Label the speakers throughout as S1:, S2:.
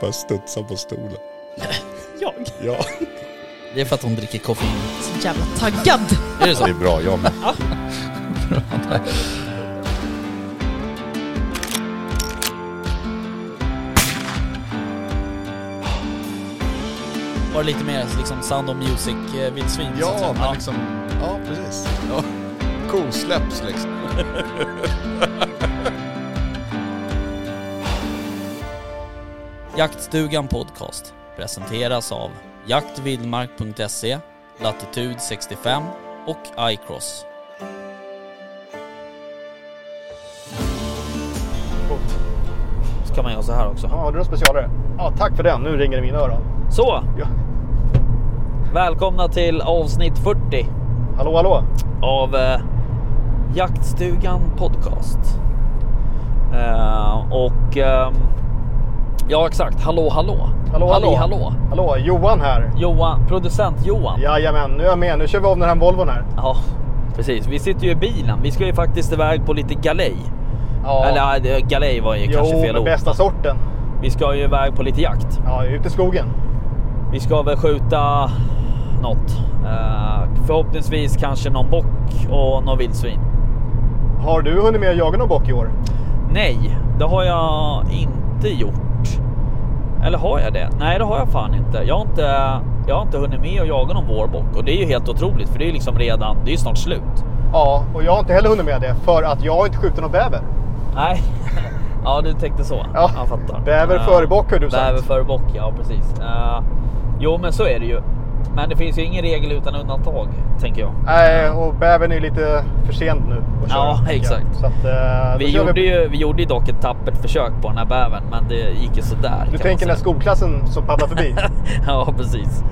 S1: Bara studsa på stolen.
S2: Jag?
S1: Ja.
S3: Det är för att hon dricker koffein.
S2: Så jävla taggad.
S3: Är det
S1: Det är
S3: så?
S1: bra, jag med.
S3: Var det lite mer liksom Sound of Music-vildsvin?
S1: Ja, men liksom... Ja, precis. Ja. Kosläpps liksom.
S3: Jaktstugan Podcast presenteras av jaktvildmark.se, Latitude 65 och iCross.
S4: Så kan man göra så här också.
S5: Ja, har du någon specialare? Ja, tack för den. Nu ringer det i mina öron.
S4: Så!
S5: Ja.
S4: Välkomna till avsnitt 40
S5: Hallå, hallå.
S4: av eh, Jaktstugan Podcast. Eh, och ehm, ja, exakt. Hallå, hallå.
S5: Hallå,
S4: Halli,
S5: hallå.
S4: hallå.
S5: Hallå, Johan här.
S4: Johan, producent Johan.
S5: Jajamän, nu är jag med. Nu kör vi av den här Volvon här.
S4: Ja, precis. Vi sitter ju i bilen. Vi ska ju faktiskt iväg på lite galej.
S5: Ja.
S4: Eller nej, det- galej var ju kanske
S5: jo,
S4: fel
S5: men
S4: ord.
S5: bästa sorten.
S4: Vi ska ju iväg på lite jakt.
S5: Ja, ut i skogen.
S4: Vi ska väl skjuta något. Eh, förhoppningsvis kanske någon bock och någon vildsvin.
S5: Har du hunnit med att jaga någon bock i år?
S4: Nej, det har jag inte gjort. Eller har jag det? Nej, det har jag fan inte. Jag har inte, jag har inte hunnit med att jaga någon vårbock och det är ju helt otroligt för det är ju liksom redan, det är ju snart slut.
S5: Ja, och jag har inte heller hunnit med det för att jag har inte skjutit någon bäver.
S4: Nej. Ja, du tänkte så.
S5: Ja.
S4: Jag fattar.
S5: Bäver
S4: Eh,
S5: före bock har du sagt.
S4: Bäver före bock, ja precis. Eh, jo, men så är det ju. Men det finns ju ingen regel utan undantag, tänker jag.
S5: Nej, och bävern är lite för sent nu att köra,
S4: Ja,
S5: tycker jag.
S4: exakt.
S5: Så att, eh,
S4: Vi
S5: då kör
S4: gjorde, ju, vi gjorde ju dock ett tappert försök på den här bävern, men det gick ju sådär. kan man
S5: Du tänker den
S4: säga.
S5: här skolklassen som paddlar förbi?
S4: Ja, precis.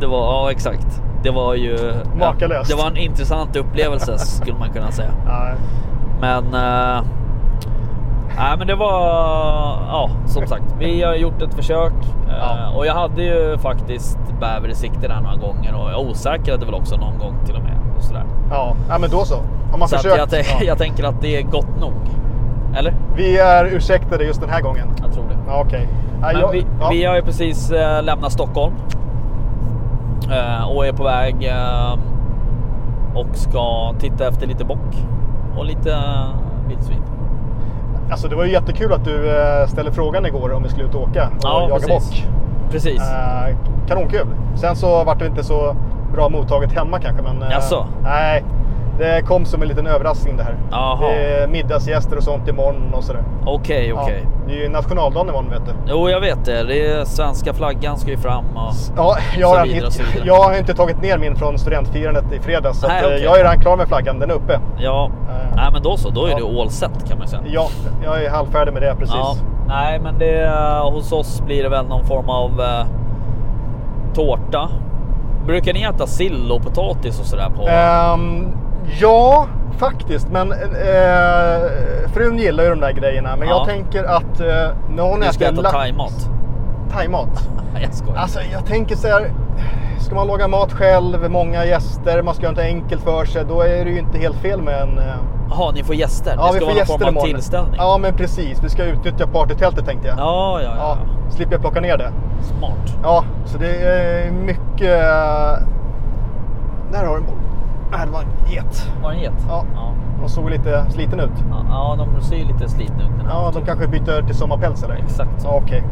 S4: Det var, ja exakt. Det var ju...
S5: Makalöst.
S4: Ja, det var en intressant upplevelse skulle man kunna säga.
S5: Nej.
S4: Men... Eh, nej, men det var... Ja, som sagt. Vi har gjort ett försök. Eh,
S5: Ja.
S4: Och jag hade ju faktiskt bäver i sikte där några gånger och jag osäkrade väl också någon gång till och med. Och sådär.
S5: Ja, ja, men då så. Om man
S4: Så att
S5: försökt.
S4: jag, tän-
S5: ja.
S4: jag tänker att det är gott nog. Eller?
S5: Vi är ursäktade just den här gången.
S4: Jag tror det.
S5: Ja, okej. Nej,
S4: Men
S5: jag-
S4: vi,
S5: ja.
S4: vi har ju precis eh, lämnat Stockholm. Eh, och är på väg eh, och ska titta efter lite bock och lite eh, vildsvin.
S5: Alltså det var ju jättekul att du eh, ställde frågan igår om vi skulle ut och åka och jaga bock.
S4: Precis.
S5: Eh, Kanonkul. Sen så vart det inte så bra mottaget hemma kanske. Men, eh,
S4: Jaså?
S5: Nej, det kom som en liten överraskning det här.
S4: Jaha.
S5: Det är middagsgäster och sånt imorgon och sådär.
S4: Okej,
S5: Ja,
S4: okej.
S5: det är ju nationaldagen imorgon vet du.
S4: Jo, jag vet det. det är, svenska flaggan ska ju fram. Och...
S5: Ja, jag,
S4: Så
S5: har
S4: vidare och så vidare.
S5: jag har inte tagit ner min från studentfirandet i fredags. Så
S4: Nej,
S5: att, eh,
S4: okej.
S5: Jag är redan klar med flaggan, den är uppe.
S4: Ja,
S5: Eh,
S4: nej men då så. Då är
S5: ja.
S4: det all set kan man ju säga.
S5: Ja, jag är halvfärdig med det precis.
S4: Ja, nej, men det, eh, hos oss blir det väl någon form av eh, tårta. Brukar ni äta sill och potatis och sådär på?
S5: Ehm, ja, faktiskt. Men eh, frun gillar ju de där grejerna. Men
S4: Ja.
S5: jag tänker att eh, när hon
S4: du ska
S5: äter
S4: äta
S5: lax-
S4: thaimat?
S5: thaimat.
S4: Nej, jag skojar.
S5: Alltså jag tänker så här. Ska man laga mat själv, många gäster, man ska göra något enkelt för sig. Då är det ju inte helt fel med en... eh,
S4: Jaha, ni får gäster?
S5: ja,
S4: det
S5: vi
S4: ska
S5: får
S4: vara någon form
S5: gäster
S4: av
S5: imorgon.
S4: tillställning?
S5: Ja, men precis. Vi ska utnyttja partytältet tänkte jag.
S4: ja, ja, ja.
S5: Ja, slipper jag plocka ner det.
S4: Smart.
S5: Ja, så det är mycket... eh, Där har du en boll. Där var en get.
S4: Var det en get?
S5: Ja.
S4: ja.
S5: De såg lite sliten ut.
S4: Ja, ja, de ser ju lite slitna ut. den här
S5: Ja, de
S4: typen.
S5: kanske byter till sommarpäls eller?
S4: Exakt så.
S5: Ja, okej.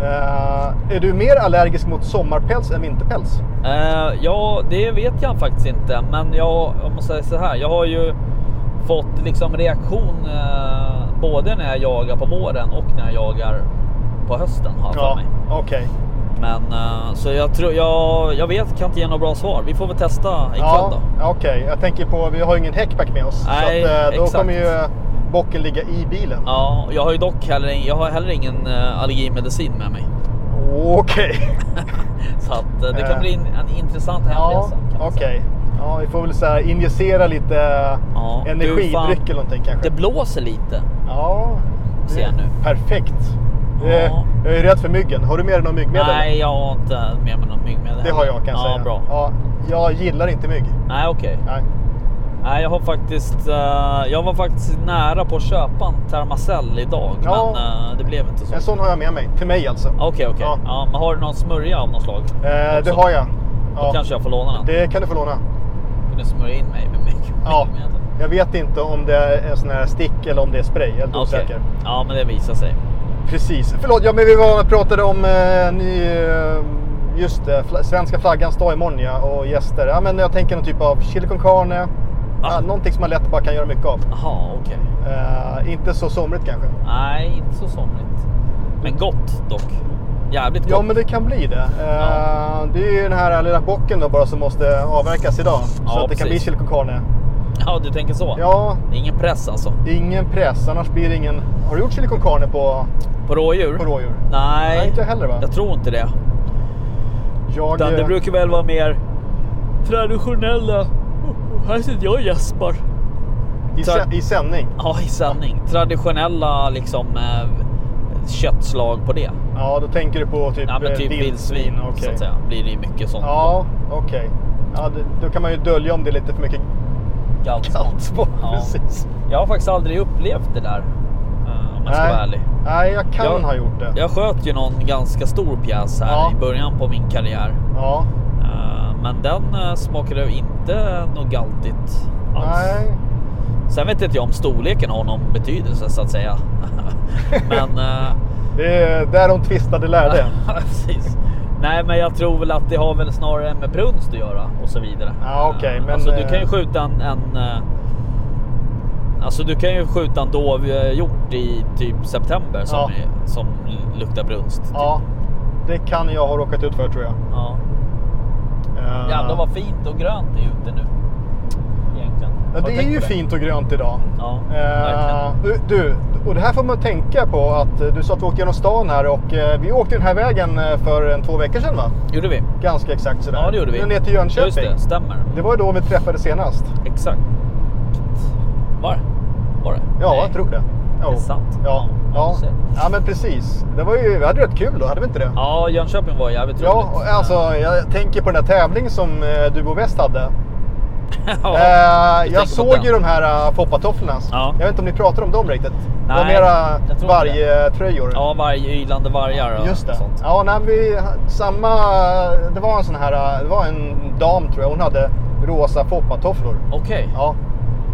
S5: Eh, är du mer allergisk mot sommarpäls än vinterpäls?
S4: Eh, ja, det vet jag faktiskt inte. Men jag, om man säger så här, jag har ju fått liksom reaktion eh, både när jag jagar på våren och när jag jagar på hösten. Har jag för mig.
S5: okej.
S4: Men eh, så jag tror jag, jag vet, kan inte ge några bra svar. Vi får väl testa ikväll
S5: Ja,
S4: då.
S5: okej. Jag tänker på, vi har ju ingen häckback med oss.
S4: Nej,
S5: så att, eh, då
S4: exakt.
S5: kommer ju eh, bocken ligga i bilen.
S4: Ja, och jag har ju dock heller, jag har heller ingen eh, allergimedicin med mig.
S5: Okej.
S4: Så att eh, det
S5: Eh.
S4: kan bli en, en intressant
S5: Ja,
S4: hemresa. kan man
S5: okej.
S4: säga.
S5: Ja, vi får väl så här injicera lite eh,
S4: Ja, du,
S5: energidryck
S4: fan.
S5: eller någonting kanske.
S4: Det blåser lite.
S5: Ja, det
S4: Ser jag nu.
S5: Perfekt. Det-
S4: Ja.
S5: Jag är rädd för myggen. Har du med dig någon myggmedel?
S4: Nej, jag har inte med mig någon myggmedel.
S5: Det har jag kan jag
S4: ja,
S5: säga.
S4: Bra.
S5: Ja, jag gillar inte mygg.
S4: Nej, okej.
S5: Nej.
S4: Nej, jag har faktiskt. eh, jag var faktiskt nära på att köpa en Thermacell idag,
S5: Ja.
S4: men eh, det blev inte så.
S5: En sån har jag med mig. Till mig alltså.
S4: Okej, okej.
S5: Ja.
S4: Ja. men har du någon smörja av något slag?
S5: Eh, det
S4: Också?
S5: har jag.
S4: Då
S5: Ja.
S4: kanske jag får låna den.
S5: Det kan du få låna.
S4: Kunde smörja in mig med mycket
S5: Ja.
S4: medel.
S5: Jag vet inte om det är en sån här stick eller om det är spray. Jag är helt
S4: Ah, Okej.
S5: osäker.
S4: Ja, men det visar sig.
S5: Precis. Förlåt, ja, men vi var, pratade om eh, ny, eh, just det, fla- svenska flaggans dag imorgon ja, och gäster. Ja, men jag tänker någon typ av chili con carne.
S4: Ah.
S5: Ja, någonting som man lätt bara kan göra mycket av.
S4: Jaha, okej.
S5: Eh, inte så somrigt kanske.
S4: Nej, inte så somrigt. Men gott dock. Jävligt gott.
S5: Ja, men det kan bli det. Eh,
S4: Ja.
S5: Det är ju den här lilla bocken då bara som måste avverkas idag. Så
S4: Ja,
S5: att det kan bli
S4: precis.
S5: chili con carne.
S4: Ja, du tänker så?
S5: Ja,
S4: Det är ingen press alltså.
S5: det är ingen press. Annars blir det ingen... Har du gjort chili con carne på,
S4: På rådjur?
S5: på rådjur?
S4: Nej,
S5: Nej, inte jag heller, va?
S4: Jag tror inte det.
S5: Jag,
S4: Utan det
S5: eh,
S4: brukar väl vara mer traditionella... Oh, här sitter jag och gäspar.
S5: i, sä- I sändning.
S4: Ja, i sanning. Traditionella liksom eh, köttslag på det.
S5: Ja, då tänker du på typ,
S4: Ja, men
S5: eh,
S4: typ vildsvin så
S5: okej.
S4: att säga. Blir det ju mycket sånt.
S5: Ja, okej. Ja, det- då kan man ju dölja om det är lite för mycket
S4: Kallt.
S5: kallt på.
S4: Ja.
S5: Precis.
S4: Jag har faktiskt aldrig upplevt det där. eh, Om man ska vara ärlig.
S5: Nej, jag kan
S4: Jag-
S5: ha gjort det.
S4: Jag sköt ju någon ganska stor pjäs här
S5: Ja.
S4: i början på min karriär.
S5: Ja.
S4: Eh, Men den eh, smakade inte något galtigt alls.
S5: Nej.
S4: Sen vet inte jag om storleken har någon betydelse så att säga. men... eh,
S5: Det är där de tvistade lärde.
S4: Ja, precis. Nej, men jag tror väl att det har väl snarare med brunst att göra och så vidare.
S5: Ja, okej, men,
S4: alltså, du kan ju
S5: eh,
S4: skjuta en... en eh, alltså, du kan ju skjuta en dovhjort i typ september som,
S5: Ja.
S4: är, som luktar brunst. typ.
S5: Ja, det kan jag ha råkat ut för tror jag.
S4: Ja.
S5: Eh,
S4: Jävlar vad fint och grönt det är ute nu. Egentligen. Har
S5: ja,
S4: du
S5: det är
S4: tänkt
S5: ju
S4: på
S5: fint och grönt idag.
S4: Ja,
S5: Eh,
S4: verkligen.
S5: du, du, och det här får man tänka på att eh, du sa att vi åkte genom stan här och eh, vi åkte den här vägen eh, för en två veckor sedan va?
S4: Gjorde vi?
S5: Ganska exakt sådär.
S4: Ja, det gjorde vi.
S5: Nu ner till
S4: Just
S5: Jönköping.
S4: det, stämmer.
S5: Det var ju då vi träffades senast.
S4: Exakt. Var det? Var det?
S5: Ja,
S4: Nej.
S5: jag tror det. Jo.
S4: Det är sant.
S5: Ja, ja.
S4: du ser.
S5: ja, men precis. Det var ju, vi hade rätt kul då, hade vi inte det?
S4: Ja, Jönköping var jävligt
S5: Ja, och
S4: roligt.
S5: alltså jag tänker på den här tävlingen som eh, du och West hade.
S4: Ja,
S5: eh,
S4: du
S5: jag
S4: tänker på
S5: såg
S4: den.
S5: ju de här uh, foppatofflorna.
S4: Ja.
S5: Jag vet inte om ni pratar om dem riktigt. Det var
S4: Nej,
S5: mera
S4: jag tror inte
S5: vargtröjor.
S4: Ja, varg, ylande vargar och
S5: Just det.
S4: sånt.
S5: Ja, nej, vi, samma, det var en sån här, eh, det var en dam tror jag, hon hade rosa foppatofflor.
S4: Okej.
S5: Ja.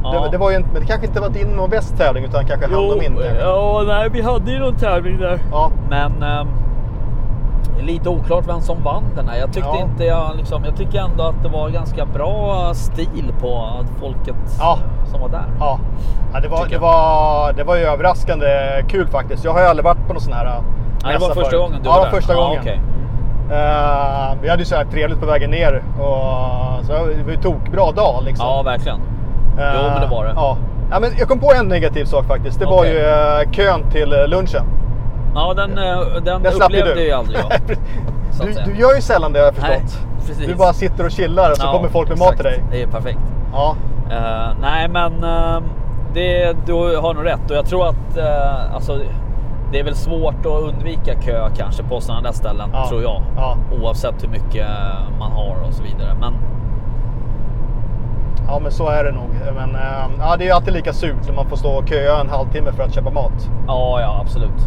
S4: Ja.
S5: Det, det var ju inte, men det kanske inte var din och West tävling utan kanske han och min tävling.
S4: eh, ja, nej, vi hade ju någon tävling där.
S5: Ja.
S4: Men ehm, det är lite oklart vem som vann den här. Jag tyckte
S5: Ja.
S4: inte jag liksom, jag tycker ändå att det var ganska bra stil på folket
S5: Ja.
S4: eh, som var där.
S5: Ja, ja det, var,
S4: Tycker
S5: det,
S4: jag.
S5: var, det var ju överraskande kul faktiskt. Jag har ju aldrig varit på någon sån här äh,
S4: Nej, det
S5: mässa
S4: var första
S5: förut.
S4: gången du
S5: ja,
S4: var där.
S5: första gången.
S4: Ja, okej.
S5: Eh, vi hade ju så här trevligt på vägen ner. Och, så det var ju tokbra dag liksom.
S4: ja verkligen.
S5: Eh,
S4: jo, men det var det.
S5: Ja. Ja, men jag kom på en negativ sak faktiskt. Det var
S4: Okej.
S5: ju eh, kön till eh, lunchen.
S4: Ja, den, eh, den
S5: Den slapp ju
S4: upplevde
S5: du.
S4: ju aldrig jag. så att
S5: du,
S4: säga.
S5: du gör ju sällan det har jag förstått.
S4: Nej, precis.
S5: du bara sitter och chillar och så
S4: Ja,
S5: kommer folk med mat till
S4: exakt.
S5: dig.
S4: Det är perfekt.
S5: Ja,
S4: Eh, nej, men eh, det, du har nog rätt och jag tror att eh, alltså, det är väl svårt att undvika kö kanske på sådana där ställen
S5: Ja.
S4: tror jag.
S5: Ja.
S4: Oavsett hur mycket man har och så vidare. Men
S5: ja, men så är det nog. Men eh, ja, det är ju alltid lika surt när man får stå och köa en halvtimme för att köpa mat.
S4: ja, ja, absolut.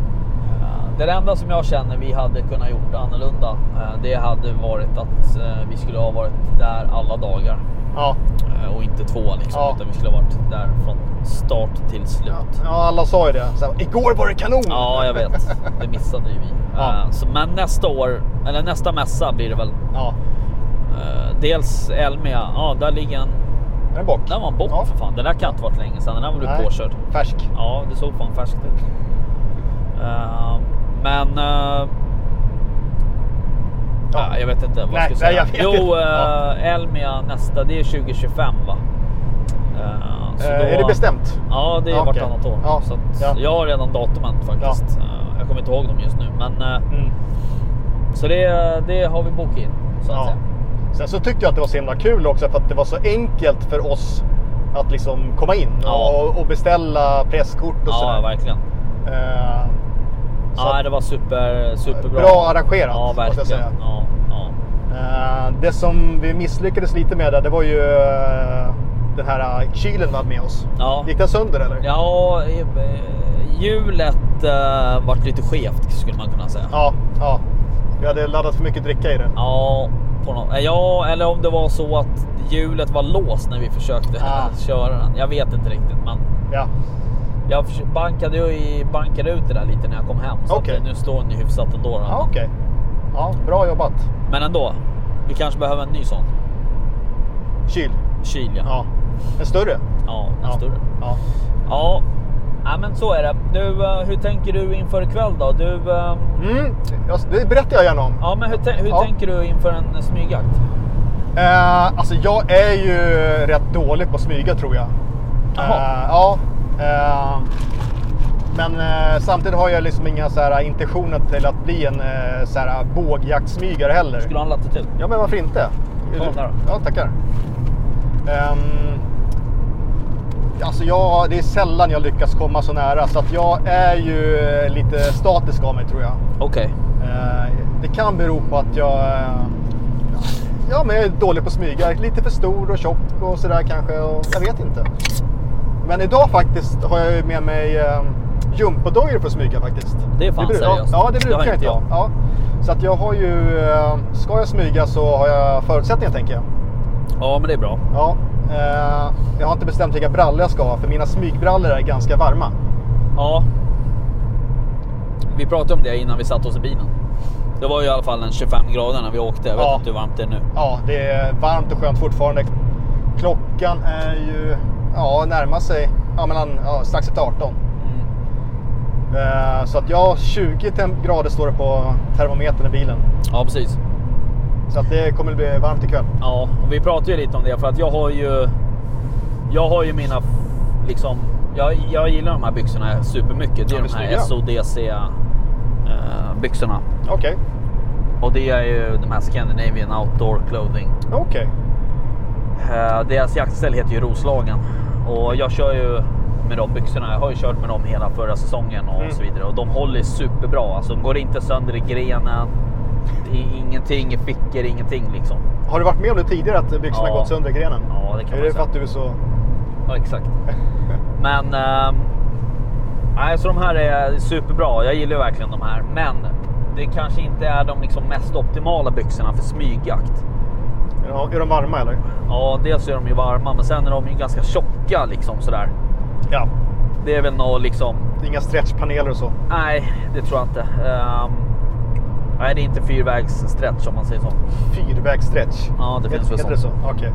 S4: Eh, det enda som jag känner vi hade kunnat gjort annorlunda, eh, det hade varit att eh, vi skulle ha varit där alla dagar
S5: Ja.
S4: eh, och inte två liksom,
S5: Ja.
S4: utan vi skulle ha varit där från start till slut.
S5: Ja, alla sa ju det. Så här, Igår var det kanon!
S4: Ja, jag vet. Det missade ju vi.
S5: Mm. Ja.
S4: Eh, Så, men nästa år, eller nästa mässa blir det väl.
S5: Ja.
S4: eh, Dels Elmia, ja där ligger en.
S5: Är det en bock?
S4: Där var en bock
S5: Ja.
S4: för fan. Det där kan inte varit länge sedan. Den där var du
S5: Nej.
S4: påkörd.
S5: Färsk.
S4: Ja, det såg fan färskt ut. Eh, Men... eh,
S5: Ja.
S4: ja, jag vet inte vad
S5: Nej,
S4: jag ska
S5: nej,
S4: säga.
S5: jag vet
S4: jo,
S5: inte.
S4: eh,
S5: Ja.
S4: Elmia nästa, det är 2025 va? Eh, så
S5: Eh,
S4: då-
S5: är det bestämt?
S4: Ja, det är
S5: Ja, okej.
S4: vartannat år.
S5: Ja,
S4: Så att
S5: ja.
S4: Jag har redan datumen faktiskt. Eh, Jag kommer inte ihåg dem just nu. Men, eh,
S5: Mm.
S4: så det, det har vi bokat in. Så att
S5: Ja.
S4: säga.
S5: Sen så tyckte jag att det var så himla kul också för att det var så enkelt för oss att liksom komma in
S4: Ja.
S5: och, och beställa presskort och
S4: Ja,
S5: sådär.
S4: verkligen.
S5: Eh, så
S4: Ja,
S5: att,
S4: det var super, superbra.
S5: Bra arrangerat,
S4: Ja,
S5: måste jag
S4: verkligen.
S5: säga.
S4: Ja, ja.
S5: eh, det som vi misslyckades lite med där, det var ju eh, den här eh, kylen vi hade med oss.
S4: Ja.
S5: Gick den sönder eller?
S4: Ja, eh, hjulet eh, vart lite skevt skulle man kunna säga.
S5: Ja, ja. Vi hade laddat för mycket dricka i den.
S4: Ja, på något. ja eller om det var så att hjulet var låst när vi försökte
S5: Ah.
S4: köra den. Jag vet inte riktigt, men
S5: Ja.
S4: jag förs- bankade, ju i, bankade ut det där lite när jag kom hem. Så
S5: Okej.
S4: att nu står den ju hyfsat ändå. Då.
S5: Ja, okej. Ja, bra jobbat.
S4: Men ändå, vi kanske behöver en ny sån.
S5: Kyl.
S4: Kyl ja.
S5: Ja. En större.
S4: Ja, en
S5: ja.
S4: större.
S5: Ja.
S4: Ja. ja, men så är det. Du, eh, hur tänker du inför ikväll då? Du, ehm,
S5: Mm. ja, Det berättar jag gärna om.
S4: ja, men hur, tän- hur
S5: Ja.
S4: tänker du inför en smygjakt?
S5: Eh, alltså jag är ju rätt dålig på att smyga tror jag.
S4: Jaha.
S5: Eh, ja. Eh, men eh, samtidigt har jag liksom inga så här, intentioner till att bli en eh, så här, bågjaktsmygare heller.
S4: Skulle du ha en latitud?
S5: Ja men varför inte?
S4: Ta den där då.
S5: Ja tackar. Ehm, alltså jag, det är sällan jag lyckas komma så nära så att jag är ju eh, lite statisk av mig tror jag.
S4: Okej.
S5: Eh, Det kan bero på att jag... eh, Ja, men jag är dålig på att smyga. Lite för stor och tjock och sådär kanske. Och jag vet inte. Men idag faktiskt har jag ju med mig eh, jumpodojor för att smyga faktiskt.
S4: Det är fan
S5: bru- ja,
S4: seriöst.
S5: ja, det
S4: Det
S5: brukar
S4: har
S5: jag
S4: inte
S5: inte ha.
S4: jag.
S5: Ja. Så att jag har ju... eh, Ska jag smyga så har jag förutsättningar tänker jag.
S4: Ja, men det är bra.
S5: Ja. eh, Jag har inte bestämt vilka brallor jag ska ha för mina smygbrallor är ganska varma.
S4: Ja. Vi pratade om det innan vi satte oss i bilen. Det var ju i alla fall en 25 grader när vi åkte. Jag vet
S5: Ja.
S4: inte hur varmt det är nu.
S5: Ja, det är varmt och skönt fortfarande. Klockan är ju, ja, närmar sig, ja, mellan, ja, strax efter 18.
S4: Mm.
S5: Eh, så att ja, 20 tem- grader står det på termometern i bilen.
S4: Ja, precis.
S5: Så att det kommer att bli varmt ikväll.
S4: Ja, och vi pratade ju lite om det för att jag har ju. Jag har ju mina f- liksom. Jag, jag gillar de här byxorna supermycket. Det är
S5: Ja,
S4: de
S5: det är
S4: här
S5: snygga.
S4: SODC eh, byxorna
S5: Okej,
S4: och det är ju de här Scandinavian Outdoor Clothing.
S5: okej.
S4: Eh, Deras jaktställ heter ju Roslagen och jag kör ju med de byxorna. Jag har ju kört med dem hela förra säsongen och
S5: Mm.
S4: så vidare och de håller superbra. Alltså, de går inte sönder i grenen. Det är ingenting i fickor, ingenting liksom.
S5: Har du varit med om det tidigare att byxorna
S4: Ja.
S5: gått sönder i grenen?
S4: Ja, det kan
S5: är
S4: man
S5: det för
S4: säga.
S5: att du är så...
S4: Ja, exakt. Men ehm, nej, så de här är superbra. Jag gillar ju verkligen de här, men det kanske inte är de liksom mest optimala byxorna för smygjakt.
S5: Är de- Är de varma eller?
S4: Ja, dels är de ju varma, men sen är de ju ganska tjocka liksom sådär.
S5: Ja.
S4: Det är väl något liksom
S5: Inga stretchpaneler och så?
S4: Nej, det tror jag inte. Ehm, nej, det är inte fyrvägs stretch om man säger så.
S5: Fyrvägsstretch?
S4: Ja, det finns väl
S5: Heter det så?
S4: sånt.
S5: Okej.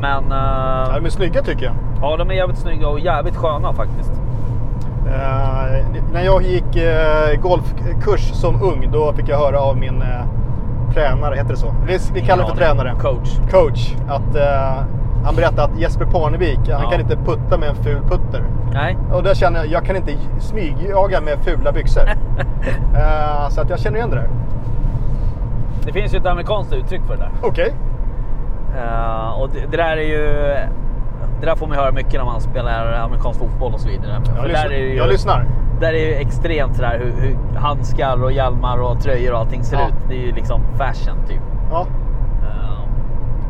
S4: Men
S5: Ja,
S4: eh,
S5: de är snygga tycker jag.
S4: ja, de är jävligt snygga och jävligt sköna faktiskt.
S5: Eh, när jag gick eh, golfkurs som ung, då fick jag höra av min eh, tränare, heter det så? Vi, vi kallar det för
S4: Ingen aning.
S5: tränare.
S4: Coach.
S5: Coach. Att, eh, han berättade att Jesper Parnevik, han
S4: Ja.
S5: kan inte putta med en ful putter.
S4: Nej,
S5: Och där känner jag, jag kan inte smygjaga med fula byxor. Eh, så att jag känner igen det där.
S4: det finns ju ett amerikanskt uttryck för det där.
S5: Okej.
S4: Eh, och det, det där är ju... Det där får man ju höra mycket när man spelar amerikansk fotboll och så vidare. För
S5: Jag,
S4: där
S5: lyssnar.
S4: är det ju-
S5: jag lyssnar.
S4: Där är ju extremt sådär hur, hur handskar och hjälmar och tröjor och allting ser
S5: Ja.
S4: ut. Det är ju liksom fashion typ.
S5: Ja.
S4: Eh,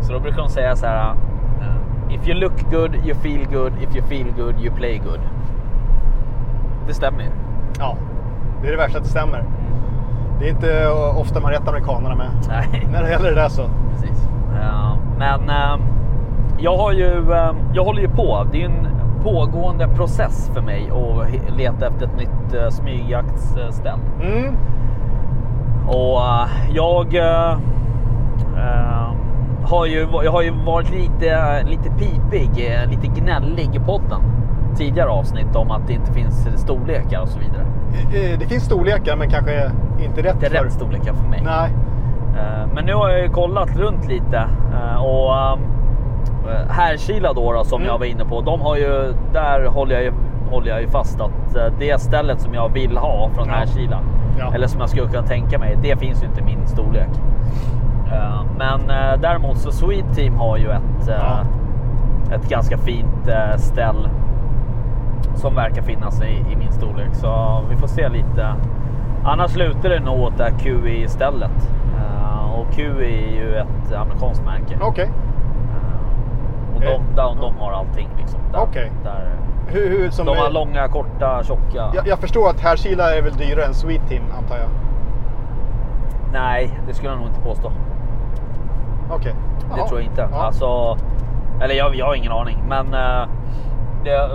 S4: Så då brukar de säga så här. eh, If you look good, you feel good. If you feel good, you play good. Det stämmer ju.
S5: ja, det är det värsta att det stämmer.
S4: Mm.
S5: Det är inte eh, ofta man rätt amerikanerna med.
S4: Nej,
S5: När det gäller det där så.
S4: precis. Eh, Men eh, jag, har ju, eh, jag håller ju på. Det är ju en pågående process för mig att he- leta efter ett nytt eh, smygjaktsställ.
S5: Mm.
S4: Och eh, jag, eh, eh, har ju, jag har ju varit lite, eh, lite pipig, eh, lite gnällig i podden tidigare avsnitt om att det inte finns storlekar och så vidare.
S5: Eh, eh, Det finns storlekar men kanske inte rätt
S4: Inte
S5: för.
S4: rätt storlekar för mig.
S5: Nej.
S4: Eh, Men nu har jag ju kollat runt lite eh, och eh, Härkila då, då som
S5: Mm.
S4: jag var inne på. De har ju, där håller jag ju, håller jag ju fast att eh, det stället som jag vill ha från
S5: Ja.
S4: Härkila.
S5: Ja.
S4: Eller som jag skulle kunna tänka mig. Det finns ju inte i min storlek. Eh, Men eh, däremot så Sweet Team har ju ett, eh, ett ganska fint eh, ställ. Som verkar finnas i, i min storlek. Så vi får se lite. Annars slutar det nog åt det här QI E stället. Eh, Och QI är ju ett amerikanskt märke.
S5: Okej.
S4: Eh, Och
S5: Okej.
S4: de, där, de har allting liksom. Där,
S5: Okej.
S4: där,
S5: Hur, hur, som
S4: de har
S5: är-
S4: långa, korta, tjocka.
S5: jag, jag förstår att här Kila är väl dyrare än Sweet Team antar jag.
S4: Nej, det skulle jag nog inte påstå.
S5: Okej.
S4: Det
S5: Jaha.
S4: tror jag inte.
S5: Ja.
S4: Alltså, eller jag, jag har ingen aning. Men eh, det,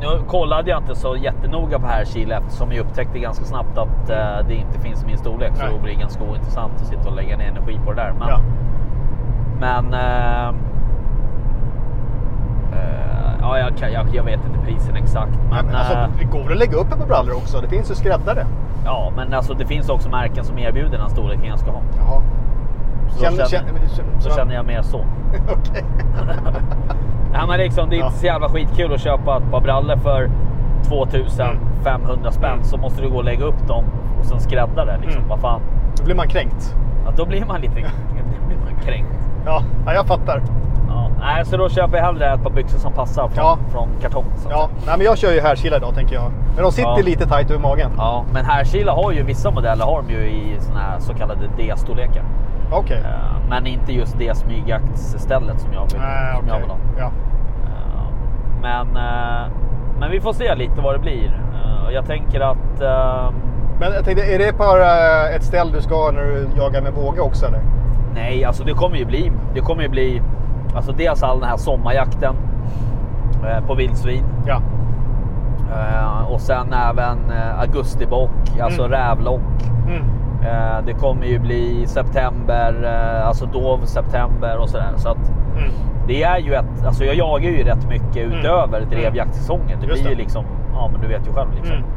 S4: nu kollade jag inte så jättenoga på här Chile eftersom jag upptäckte ganska snabbt att eh, det inte finns i min storlek. Så
S5: Nej.
S4: då blir det ganska ointressant att sitta och lägga ner energi på det där. Men,
S5: Ja.
S4: men eh, eh, ja, jag, kan- jag, jag vet inte prisen exakt.
S5: Nej,
S4: Men,
S5: men alltså,
S4: eh,
S5: det går väl att lägga upp ett par brallor också? Det finns ju skräddare.
S4: ja, men alltså, det finns också märken som erbjuder den storleken jag ska ha.
S5: Jaha.
S4: Så då
S5: Känner,
S4: känner-
S5: känner, känner,
S4: Så känner jag mer så.
S5: Okej.
S4: Nej, men liksom, det är
S5: Ja.
S4: inte så jävla skitkul att köpa ett par brallor för 2500 spänn.
S5: Mm.
S4: Så måste du gå och lägga upp dem och sen skrädda det. Liksom.
S5: Mm.
S4: Vad fan.
S5: Då blir man kränkt.
S4: Ja, då blir man lite då blir man kränkt.
S5: Ja, ja jag fattar.
S4: Ja. Nej, så då köper jag hellre ett par byxor som passar från,
S5: Ja.
S4: från kartong. Så. att
S5: Ja, nej, men jag kör ju härkila idag tänker jag. Men de sitter
S4: Ja.
S5: lite tajt över magen.
S4: Ja, men här Kila har ju vissa modeller har de ju i såna här så kallade D-storlekar.
S5: Okej.
S4: Eh, Men inte just det smygjaktsstället som jag vill,
S5: Nej,
S4: som jag
S5: okej.
S4: vill ha.
S5: Ja.
S4: Eh, Men, eh, men vi får se lite vad det blir. Eh, och Jag tänker att eh,
S5: Men jag tänkte, är det bara eh, ett ställ du ska ha när du jagar med båge också eller?
S4: nej, alltså det kommer ju bli. Det kommer ju bli alltså dels all den här sommarjakten eh, på vildsvin
S5: Ja.
S4: eh, och sen även eh, augustibock, alltså
S5: Mm.
S4: rävlock.
S5: Mm.
S4: Eh, Det kommer ju bli september, eh, alltså dov september och sådär. Så att
S5: Mm.
S4: det är ju ett, alltså jag jagar ju rätt mycket
S5: Mm.
S4: utöver
S5: Mm.
S4: drevjaktsäsongen. Det
S5: Just
S4: blir ju
S5: det.
S4: liksom, ja men du vet ju själv liksom.
S5: Mm.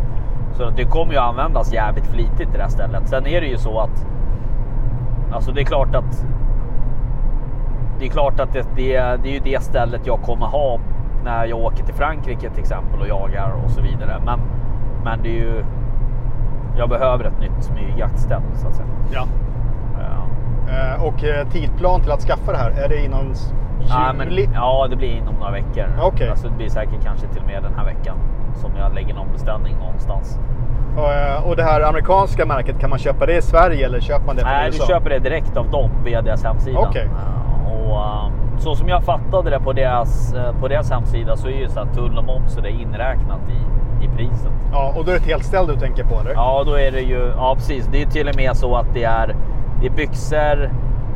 S4: Så det kommer ju användas jävligt flitigt i det här stället. Sen är det ju så att. Alltså det är klart att. Det är klart att det, det, det är ju det stället jag kommer ha när jag åker till Frankrike till exempel och jagar och så vidare. Men, men det är ju. Jag behöver ett nytt smygjaktställ så att säga. Ehm,
S5: ja.
S4: Ja.
S5: Eh, Och eh, tidplan till att skaffa det här, är det inom s-
S4: Ja, men,
S5: juli?
S4: ja, det blir inom några veckor.
S5: Okej.
S4: Alltså, det blir säkert kanske till och med den här veckan som jag lägger någon beställning någonstans.
S5: Och, eh, Och det här amerikanska märket, kan man köpa det i Sverige eller köper man det från
S4: Nej, du
S5: USA?
S4: köper det direkt av dem via deras hemsida.
S5: Okej.
S4: Ja, Och, um, så som jag fattade det på deras, eh, på deras hemsida så är ju så här tull och moms och det är inräknat i, i priset.
S5: Ja, och då är det ett helt ställ du tänker på eller?
S4: Ja, då är det ju. Ja, precis. Det är ju till och med så att det är, det är byxor,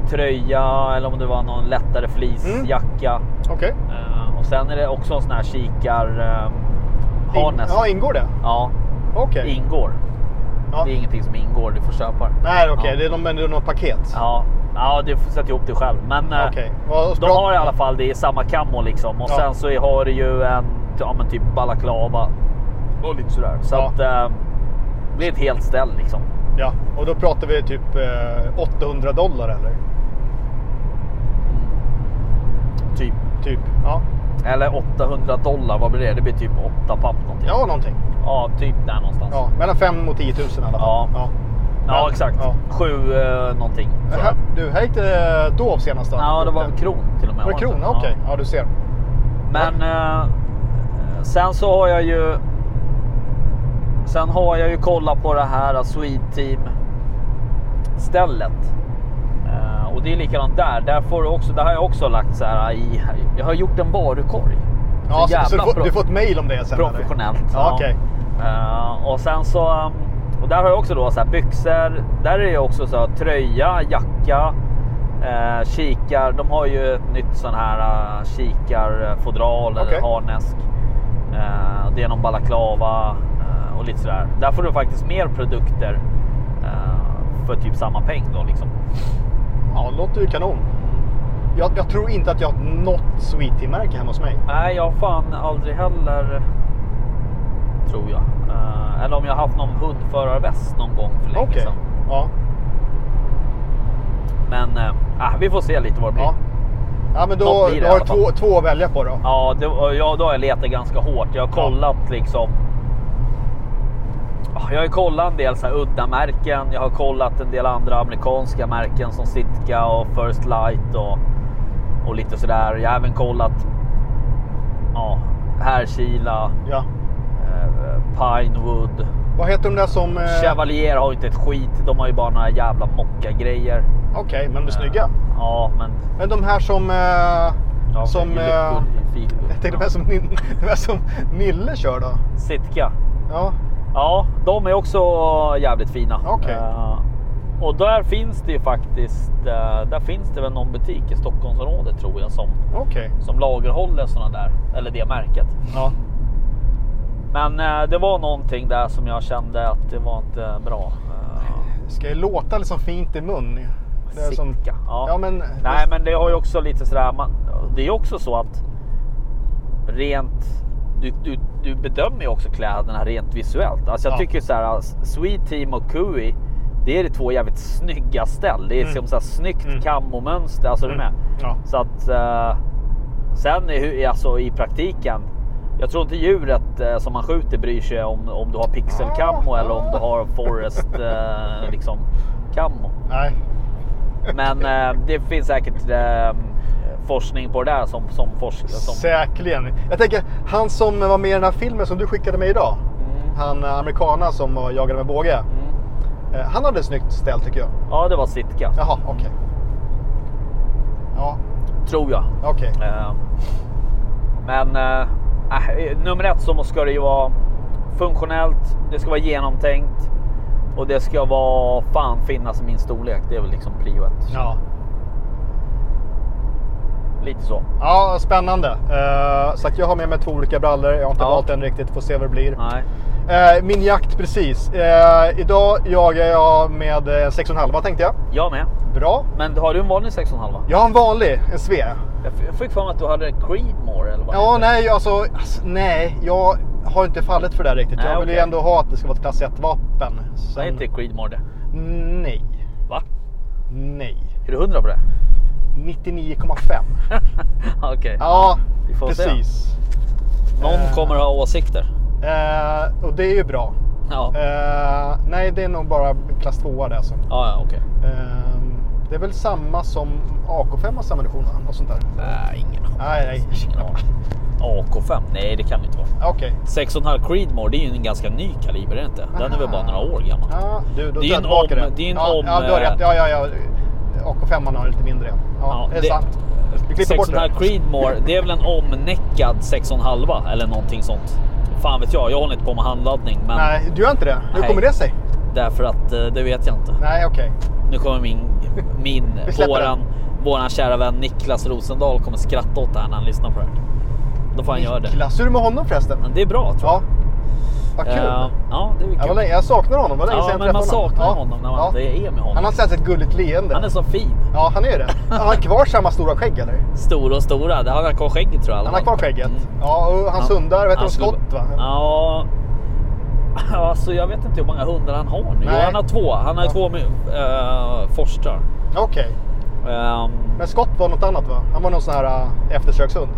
S4: tröja eller om det var någon lättare
S5: Mm.
S4: fleecejacka.
S5: Okej.
S4: Eh, Och sen är det också en sån här kikar um,
S5: In-
S4: harness.
S5: ja, ingår det?
S4: ja,
S5: Okej.
S4: ingår.
S5: Ja.
S4: Det är ingenting som ingår. Du får köpa det.
S5: Nej, okej,
S4: Ja.
S5: det är någon, men det är något paket?
S4: Ja, ja du får sätta ihop det själv. Men eh,
S5: Okej. Vad-
S4: de
S5: bra-
S4: har i alla fall det i samma kammo liksom. Och
S5: Ja.
S4: sen så har du ju en ja, men typ balaklava och lite sådär. Så
S5: Ja.
S4: att eh, det blir ett helt ställ liksom.
S5: Ja, och då pratar vi typ eh, 800 dollar eller?
S4: Typ.
S5: Typ. Ja,
S4: Eller 800 dollar, vad blir det? Det blir typ 8 papp någonting.
S5: ja någonting.
S4: Ja, typ där någonstans.
S5: Ja, mellan 5 och 10 000 i alla fall.
S4: Ja. Ja, exakt.
S5: Ja.
S4: Sju eh, någonting. tror jag.
S5: Här, du, här gick det eh, Dov senast då?
S4: Ja, det var en kron till och med.
S5: Var det
S4: inte?
S5: krona?
S4: Ja.
S5: Okej, ja du ser.
S4: Men eh, sen så har jag ju. Sen har jag ju kollat på det här eh, Sweet Team stället. Eh, och det är likadant där. Där, får du också, där har jag också lagt så här i. Jag har gjort en varukorg.
S5: Ja, så, så du,
S4: jävla
S5: får,
S4: pro-
S5: du får ett mail om det sen? eller?
S4: professionellt.
S5: Ja, okej.
S4: Eh, och sen så. um, Och där har jag också då så här byxor. Där är det också så här, tröja, jacka, eh, kikar. De har ju ett nytt sån här eh, kikarfodral
S5: Okej.
S4: eller harnesk. Eh, det är någon balaklava eh, och lite sådär. Där får du faktiskt mer produkter eh, för typ samma peng då liksom.
S5: Ja, det låter ju kanon. Jag, jag tror inte att jag har något Sweetie-märke hemma hos mig.
S4: Nej, jag har fan aldrig heller. Tror jag. Eh, eller om jag har haft någon hundförarväst någon gång för länge
S5: Okej.
S4: sedan.
S5: Ja.
S4: Men eh, ah, vi får se lite vad det blir.
S5: Ja.
S4: Ja.
S5: ja, men då,
S4: Något blir det
S5: då
S4: i
S5: har
S4: alla
S5: du två, två att välja på då.
S4: det, och ja, då har jag letat ganska hårt. Jag har
S5: Ja.
S4: kollat liksom. Ah, Jag har ju kollat en del så här udda märken. Jag har kollat en del andra amerikanska märken som Sitka och First Light och, och lite sådär. Jag har även kollat. Ja, Härkila,
S5: Ja.
S4: eh, Pinewood.
S5: Vad heter de där som... eh,
S4: Chevalier har ju inte ett skit. De har ju bara några jävla mocka grejer.
S5: Okej, men de är snygga.
S4: Ja, men
S5: Men de här som... Eh,
S4: Ja, okej,
S5: Som,
S4: i
S5: eh,
S4: lyckor, i feelgood.
S5: Jag tänkte de här som, Nin- de här som Nille kör då.
S4: Sitka.
S5: Ja,
S4: Ja, de är också jävligt fina.
S5: Okej.
S4: Eh, och där finns det ju faktiskt. eh, där finns det väl någon butik i Stockholmsområdet tror jag som
S5: okej.
S4: som lagerhåller sådana där eller det märket.
S5: Ja.
S4: Men eh, det var någonting där som jag kände att det var inte bra. Eh,
S5: Ska jag låta liksom fint i mun? Det är som-
S4: Sitka. Ja.
S5: Ja, men-
S4: Nej, men det har ju också lite sådär. Man, det är ju också så att rent. Du, du, du bedömer ju också kläderna rent visuellt. Alltså jag
S5: Ja.
S4: tycker så här. Sweet Team och Kui. Det är de två jävligt snygga ställ. Det är
S5: Mm.
S4: som så här snyggt
S5: Mm.
S4: kammomönster. Alltså är du med?
S5: Ja.
S4: Så att eh, sen i, hu- alltså, i praktiken. Jag tror inte djuret eh, som man skjuter bryr sig om, om du har
S5: Ah.
S4: pixelkammo eller om du har forest eh, liksom, kammo.
S5: Nej.
S4: Men eh, det finns säkert eh, forskning på det där som, som forskar. Som,
S5: Säkerligen. Jag tänker, han som var med i den här filmen som du skickade mig idag.
S4: Mm.
S5: Han eh, amerikanen som var jagade med båge.
S4: Mm.
S5: Eh, Han hade ett snyggt ställ tycker jag.
S4: Ja, det var Sitka.
S5: Jaha, okej. Ja,
S4: Tror jag.
S5: okej.
S4: Eh, Men eh, eh, nummer ett så ska det ju vara funktionellt, det ska vara genomtänkt och det ska vara fan finnas i min storlek. Det är väl liksom prio ett.
S5: Ja.
S4: Lite så.
S5: ja, spännande. Eh, så att jag har med mig två olika brallor. Jag har inte
S4: Ja.
S5: valt en riktigt, får se vad det blir.
S4: Nej.
S5: Eh, min jakt precis. Eh, idag jagar jag med eh, 6,5 tänkte jag.
S4: Jag med.
S5: Bra.
S4: Men har du en vanlig 6,5?
S5: Jag har en vanlig, en sve.
S4: Jag f- Jag fick för mig att du hade Creedmoor eller vad
S5: Ja,
S4: heter det?
S5: nej, alltså, ass, nej, jag har inte fallit för det här riktigt.
S4: Nej,
S5: jag vill ju
S4: okej.
S5: ändå ha att det ska vara ett klass 1-vapen.
S4: Nej, inte Creedmoor det.
S5: Nej,
S4: Va?
S5: nej.
S4: Är du hundra på det?
S5: 99,5.
S4: Okej.
S5: Ja,
S4: Vi får se.
S5: precis.
S4: Någon
S5: eh.
S4: kommer ha åsikter.
S5: Eh, och det är ju bra.
S4: Ja, ja,
S5: Eh, nej, det är nog bara klass 2 det alltså.
S4: ja okej.
S5: Eh, det är väl samma som AK5 har samma ammunition va? och sånt där?
S4: Nej, ingen aning.
S5: Nej, nej.
S4: Ingen aning. AK5? Nej, det kan det inte vara.
S5: Okej.
S4: 6,5 Creedmoor, det är ju en ganska ny kaliber, är det inte? Den är väl bara några år gammal?
S5: Ja, du, då
S4: Det är
S5: tar jag
S4: en
S5: tillbaka
S4: om- det är en
S5: ja,
S4: om,
S5: Ja, du har
S4: eh,
S5: rätt. Ja, ja, ja. AK5 har lite mindre. Ja,
S4: Ja,
S5: det är
S4: det-
S5: sant. Vi klipper bort
S4: 6,5
S5: det.
S4: Creedmoor, det är väl en omnäckad 6,5 eller någonting sånt. Fan vet jag, jag håller inte på med handladdning, men
S5: Nej, du gör inte det? Hur
S4: Nej.
S5: kommer det sig?
S4: därför att eh, det vet jag inte.
S5: Nej, okej.
S4: Nu kommer min, min
S5: Vi släpper
S4: våran, våran kära vän Niklas Rosendahl kommer skratta åt det här när han lyssnar på det här. Då får han göra det.
S5: Niklas, hur är det med honom förresten?
S4: Men det är bra tror jag.
S5: Ja, vad kul.
S4: Eh, ja, det är
S5: jag, var
S4: kul.
S5: länge, jag saknar honom. Vad länge
S4: Ja,
S5: sedan jag
S4: men man
S5: träffade honom.
S4: saknar
S5: Ja,
S4: honom när man
S5: ja.
S4: inte är med
S5: Han
S4: honom.
S5: har sett ett gulligt leende.
S4: Han är så fin.
S5: Ja, han är det. Har han kvar samma stora skägg eller?
S4: Stora och stora. Det har han kvar skägget tror jag. i alla
S5: Han har
S4: fall.
S5: kvar skägget.
S4: Mm.
S5: Ja, och hans
S4: Ja.
S5: hundar, vet
S4: Han
S5: du,
S4: skulle-
S5: skott va?
S4: Ja. Alltså jag vet inte hur många hundar han har nu. Jo,
S5: Nej.
S4: han har två. Han har ju
S5: Ja.
S4: två med, eh, forstrar.
S5: Okej.
S4: Ehm,
S5: Men skott var något annat va? Han var någon sån här äh, eftersökshund.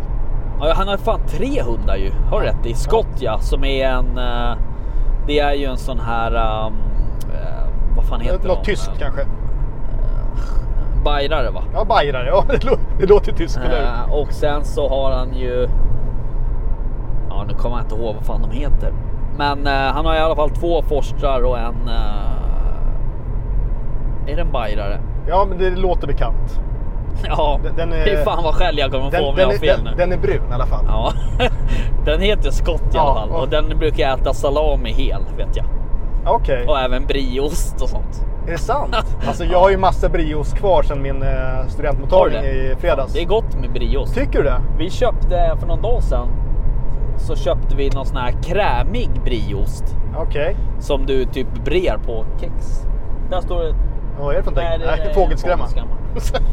S4: ja, han har fan tre hundar ju. Har du rätt i. Skott ja, som är en... eh, det är ju en sån här... ehm, eh, vad fan heter
S5: Något
S4: de?
S5: tyskt
S4: Eh,
S5: kanske.
S4: Bajrare va?
S5: Ja, bajrare. Ja, det, lå- det låter ju tyskt, eller hur?
S4: Eh, och sen så har han ju... Ja, nu kommer jag inte ihåg vad fan de heter. Men eh, han har i alla fall två forstrar och en... eh, är det en bajrare?
S5: Ja, men det låter bekant.
S4: Ja,
S5: Den- den är-
S4: fy fan vad skäll jag kommer få om jag har
S5: är,
S4: fel
S5: den,
S4: nu.
S5: den är brun i alla fall.
S4: Ja, den heter skott i alla
S5: Ja,
S4: fall
S5: och-
S4: och, den brukar jag äta salami hel vet jag.
S5: Okej,
S4: Och även brieost och sånt.
S5: är det sant? Alltså, jag har ju massa brios kvar sedan min eh, studentmottagning
S4: Har du det?
S5: i fredags.
S4: Det är gott med brieost.
S5: Tycker du det?
S4: Vi köpte för någon dag sedan så köpte vi någon sån här krämig brieost.
S5: Okej.
S4: Som du typ brer på kex. Där står det...
S5: Vad är det för
S4: Nej,
S5: någonting?
S4: det- det
S5: Nej,
S4: är
S5: Fågelskrämma.
S4: fågelskrämma.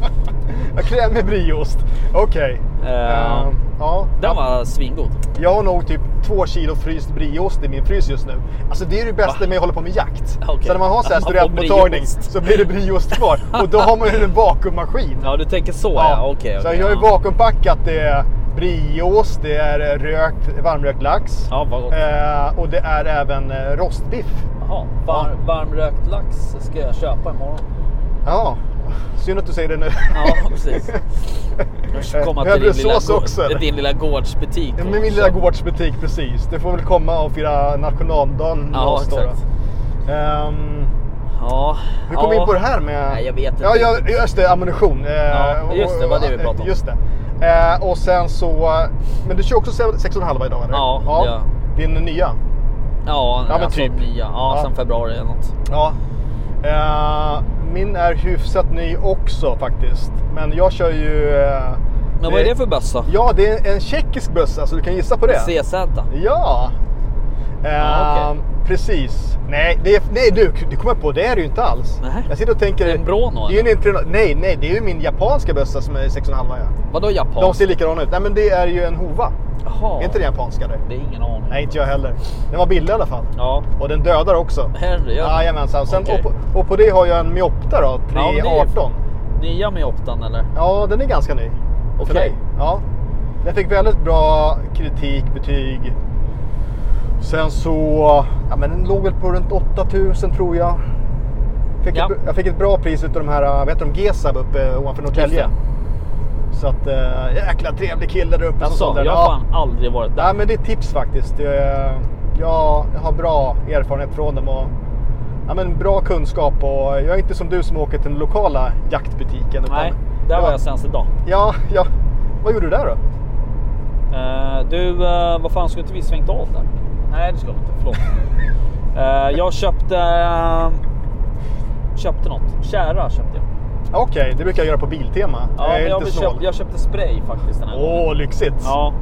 S5: Jag kräm med brieost. Okej.
S4: Eh,
S5: Ehm, ja.
S4: Den var svingod.
S5: Jag har nog typ två kilo fryst brieost i min frys just nu. Alltså det är det bästa med att hålla på med jakt.
S4: Okej.
S5: Så när man har så här
S4: Man får
S5: studentmottagning
S4: brieost.
S5: så blir det brieost kvar. Och då har man ju en vakuummaskin.
S4: Ja, du tänker så ja. Okej.
S5: så
S4: okej,
S5: jag har ju
S4: ja.
S5: vakuumpackat. Det är brieost, det är eh, rökt, varmrökt lax.
S4: Ja, vad gott.
S5: Eh, och det är även eh, rostbiff.
S4: Jaha, var, varmrökt lax ska jag köpa imorgon.
S5: Ja, synd att du säger det nu.
S4: Ja, precis. Jag ska komma till din lilla,
S5: Höblesås
S4: gård,
S5: också, eller?
S4: din lilla gårdsbutik.
S5: Ja,
S4: och
S5: Med min lilla
S4: köpa.
S5: gårdsbutik precis. Du får väl komma och fira nationaldagen med
S4: Ja,
S5: oss då, då.
S4: exakt.
S5: Ehm,
S4: Ja.
S5: hur kom vi
S4: ja.
S5: in på det här med...
S4: Nej, jag vet inte.
S5: Ja, ja, just det, ammunition. Eh,
S4: Ja, just det, vad det vi
S5: och-
S4: pratade om.
S5: Just det. Eh, och sen så... Men du kör också 6,5 idag eller?
S4: Ja, ja.
S5: Din nya?
S4: Ja,
S5: Ja, men
S4: alltså
S5: typ.
S4: nya. Ja,
S5: Ja.
S4: sen februari eller något.
S5: Ja. Eh, min är hyfsat ny också faktiskt. Men jag kör ju... Eh,
S4: Men vad är det för bössa?
S5: Ja, det är en tjeckisk bössa så du kan gissa på det.
S4: CZ?
S5: Ja. Eh,
S4: Ja, okej.
S5: Precis. Nej, det är, nej du, du kommer på det är det ju inte alls.
S4: Nej.
S5: Jag sitter och tänker...
S4: Det är en Brono,
S5: Det är ju en 300, nej, nej, det är ju min japanska bössa som är 6,5 ja.
S4: Vadå japan?
S5: De ser likadana ut. Nej, men det är ju en Hova.
S4: Jaha.
S5: Är inte det japanska det?
S4: Det är ingen aning.
S5: Nej, inte jag heller. Den var billig i alla fall.
S4: Ja,
S5: Och den dödar också.
S4: herre ja.
S5: Jajamensan. Sen,
S4: Okej.
S5: och, på, och på det har jag en Miopta då,
S4: Ja, men det är ju-
S5: 318.
S4: Nya med optan eller?
S5: Ja, den är ganska ny.
S4: Okej.
S5: För mig. Ja. Den fick väldigt bra kritik, betyg. Sen så, ja men den låg väl på runt 8000 tror jag. Fick
S4: Ja.
S5: ett, jag fick ett bra pris utav de här, vet du de, Gesab uppe ovanför Norrtälje. Så att, eh, jäkla trevlig kille där uppe. som
S4: Alltså,
S5: sålde den.
S4: jag har
S5: Ja.
S4: fan aldrig varit där.
S5: Nej, men det är tips faktiskt. Eh, Jag har bra erfarenhet från dem och ja, men bra kunskap. Och jag är inte som du som åker till den lokala jaktbutiken. utan-
S4: Nej, där var
S5: ja,
S4: jag senast idag.
S5: Ja, ja. Vad gjorde du där då?
S4: Eh, du, eh, vad fan skulle inte vi svängt av där? Nej, det skulle vi inte. Förlåt. Eh, jag köpte... eh, köpte något. Kära köpte jag.
S5: Ja, Okej, det brukar jag göra på Biltema.
S4: Ja,
S5: jag
S4: men
S5: är
S4: jag,
S5: lite
S4: vill köp,
S5: snål.
S4: jag köpte spray faktiskt den här gången.
S5: Åh, lyxigt!
S4: Ja.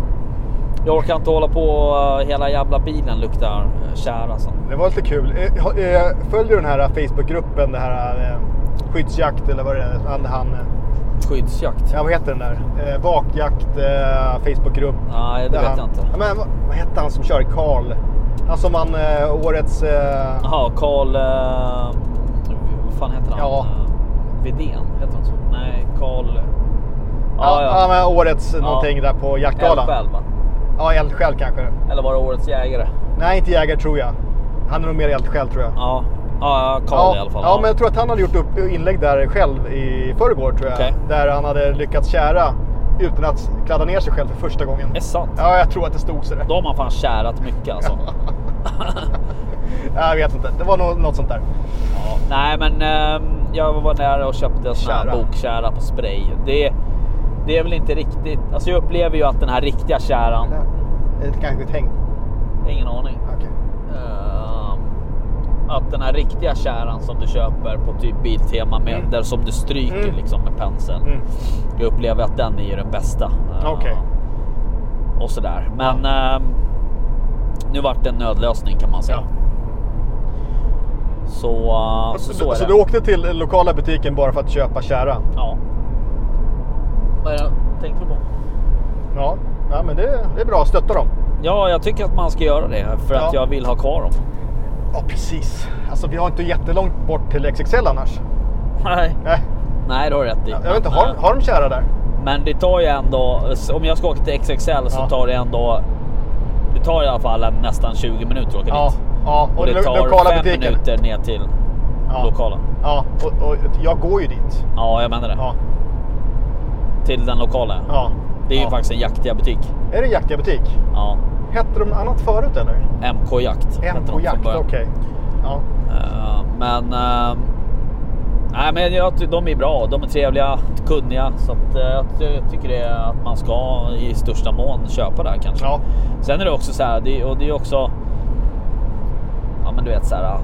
S4: Jag orkar inte hålla på och, eh, hela jävla bilen luktar eh, tjära. Så.
S5: Det var lite kul. Eh, ha- eh, Följer du den här Facebookgruppen, det här eh, skyddsjakt eller vad det är? Han, han, eh,
S4: Skyddsjakt.
S5: ja, vad heter den där? Eh, Vakjakt eh, Facebookgrupp.
S4: Nej, det
S5: Där
S4: vet
S5: han,
S4: jag inte.
S5: Ja, men, vad, vad hette han som kör? Karl? Han som vann eh, årets... Eh,
S4: Jaha, Karl... eh, vad fan heter han?
S5: Ja.
S4: Eh, Widén, heter han så? Nej, Karl...
S5: ja, ja. men årets någonting där på jaktgalan.
S4: Eldsjäl, va?
S5: Ja, eldsjäl kanske.
S4: Eller var det Årets Jägare?
S5: Nej, inte jägare tror jag. Han är nog mer eldsjäl tror jag.
S4: Ja, ja Karl
S5: ja,
S4: i alla fall.
S5: ja, men jag tror att han hade gjort upp inlägg där själv i förrgår tror jag.
S4: Okej.
S5: Där han hade lyckats kära utan att kladda ner sig själv för första gången.
S4: Är sant?
S5: Ja, jag tror att det stod sådär.
S4: Då har man fan kärat mycket alltså.
S5: Jag vet inte, det var nog något sånt där.
S4: Nej men ehm, jag var nära och köpte en sån här
S5: Kära.
S4: bokkära på spray. Det, det är väl inte riktigt. Alltså jag upplever ju att den här riktiga käran.
S5: Det är kanske ett häng.
S4: Ingen aning.
S5: Okej.
S4: Ehm, att den här riktiga käran som du köper på typ Biltema med
S5: Mm.
S4: där som du stryker
S5: Mm.
S4: liksom med penseln.
S5: Mm.
S4: Jag upplever att den är ju den bästa. Ehm,
S5: Okej.
S4: Och sådär. Men ehm, nu vart det en nödlösning kan man säga.
S5: Ja.
S4: Så, eh, så, så är
S5: så
S4: det.
S5: du åkte till den lokala butiken bara för att köpa kära?
S4: Ja. Vad är det tänkte du på?
S5: Ja, ja men det, det är bra. Stötta dem.
S4: Ja, jag tycker att man ska göra det för att
S5: Ja.
S4: jag vill ha kvar dem.
S5: Ja, precis. Alltså, vi har inte jättelångt bort till XXL annars.
S4: Nej,
S5: Nej,
S4: Nej det har du rätt i.
S5: jag vet inte.
S4: Men,
S5: Har,
S4: eh,
S5: har de kära där?
S4: Men det tar ju ändå, om jag ska åka till XXL så
S5: Ja.
S4: tar det ändå, det tar i alla fall en, nästan 20 minuter att åka
S5: Ja,
S4: dit.
S5: ja.
S4: Och, det
S5: lo-
S4: tar fem minuter ner till
S5: Ja.
S4: lokala.
S5: Ja, och, och jag går ju dit.
S4: Ja, jag menar det.
S5: Ja,
S4: Till den lokala.
S5: ja.
S4: Det är
S5: ja.
S4: ju faktiskt en jaktiga butik.
S5: Är det en jaktiga butik?
S4: Ja.
S5: Hette de annat förut eller?
S4: MK Jakt. hette de
S5: MK
S4: från
S5: Jakt, okej.
S4: början.
S5: Ja.
S4: Eh, Men... eh, nej, men jag, ty- de är bra. De är trevliga, kunniga. Så att, eh, jag ty- tycker det är att man ska i största mån köpa där kanske.
S5: Ja.
S4: Sen är det också så här, det, och det är också... Ja men du vet så här.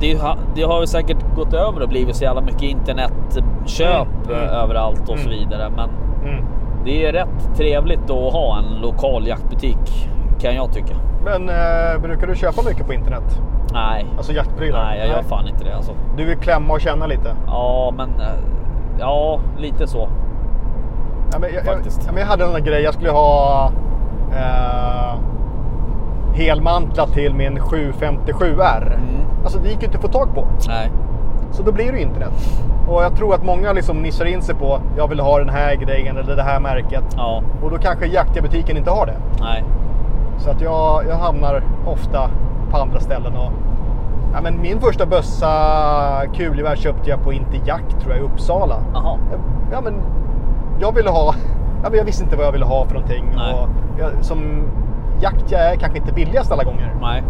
S4: Det, ha- det har ju säkert gått över och blivit så jävla mycket internetköp
S5: Mm, mm.
S4: eh, överallt och så
S5: Mm.
S4: vidare. Men
S5: Mm.
S4: det är rätt trevligt att ha en lokal jaktbutik kan jag tycka.
S5: Men eh, brukar du köpa mycket på internet?
S4: Nej,
S5: Alltså jaktprylar?
S4: nej jag gör fan inte det alltså.
S5: Du vill klämma och känna lite?
S4: Ja, men eh, ja, lite så.
S5: Ja, men jag, jag,
S4: Faktiskt.
S5: ja, men jag hade en sån där grej. Jag skulle ha eh, helmantla till min 757R.
S4: Mm.
S5: Alltså det gick ju inte att få tag på.
S4: Nej,
S5: Så då blir det ju internet. Och jag tror att många liksom nischar in sig på jag vill ha den här grejen eller det här märket.
S4: ja,
S5: Och då kanske jaktiga butiken inte har det.
S4: nej,
S5: Så att jag, jag hamnar ofta på andra ställen. Och, ja, men min första bössa kulgevär köpte jag på Inte Jakt tror jag i Uppsala.
S4: jaha,
S5: Ja, men jag ville ha... Ja, men jag visste inte vad jag ville ha för någonting.
S4: Nej.
S5: Och jag, som jakt jag är kanske inte billigast alla gånger.
S4: nej.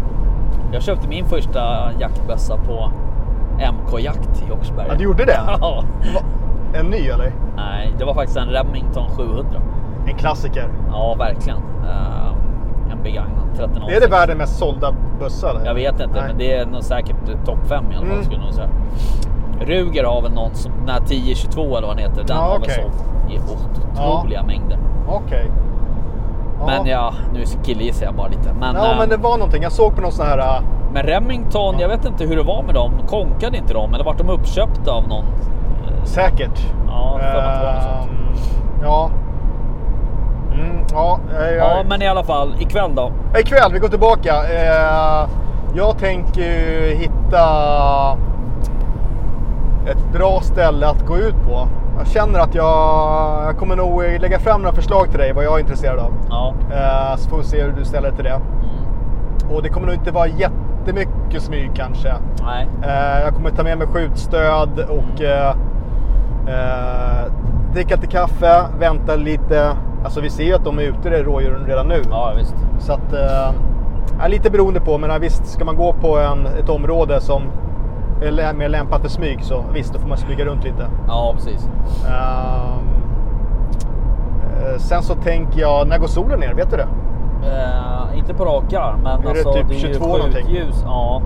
S4: Jag köpte min första jaktbössa på MK Jakt i Oxberg.
S5: Ja, du gjorde det?
S4: Ja.
S5: En ny eller?
S4: Nej, det var faktiskt en Remington 700.
S5: En klassiker.
S4: Ja, verkligen. Eh, en begagnad 13
S5: Är det världens mest sålda bössa? eller?
S4: Jag vet inte,
S5: Nej.
S4: men det är nog säkert topp 5 i alla fall.
S5: Mm.
S4: Skulle jag nog säga. Ruger har väl någon som, den här 1022 eller vad den heter, den
S5: Ja,
S4: har
S5: okej.
S4: väl sålt i otroliga mängder.
S5: Okej. Ja.
S4: Men ja, nu killgissar jag bara lite. Men,
S5: Ja,
S4: eh,
S5: men det var någonting. Jag såg på någon sån här... äh,
S4: Men Remington, jag vet inte hur det var med dem. Konkade inte de eller vart de uppköpta av någon?
S5: Säkert.
S4: Ja, för att det var något sånt.
S5: Ehm, Ja. Mm, ja, jag,
S4: Ja, men i alla fall ikväll då.
S5: Ikväll, vi går tillbaka. Eh, jag tänker ju hitta ett bra ställe att gå ut på. Jag känner att jag, jag kommer nog lägga fram några förslag till dig vad jag är intresserad av.
S4: Ja.
S5: Eh, så får vi se hur du ställer dig till det.
S4: Mm.
S5: Och det kommer nog inte vara jättemycket smyg kanske.
S4: Nej.
S5: Eh, jag kommer ta med mig skjutstöd och eh, eh, dricka lite kaffe, vänta lite. Alltså vi ser ju att de är ute, det rådjuren redan nu.
S4: Ja, visst.
S5: Så att, eh, ja, lite beroende på, men ja, visst ska man gå på en, ett område som är lä- mer lämpat för smyg så visst, då får man smyga runt lite.
S4: Ja, precis.
S5: Ehm, eh, sen så tänker jag, när går solen ner? Vet du det?
S4: Eh, inte på rak arm, men
S5: Är det
S4: alltså
S5: typ
S4: det är ju
S5: 22 någonting?
S4: skjutljus. Ja,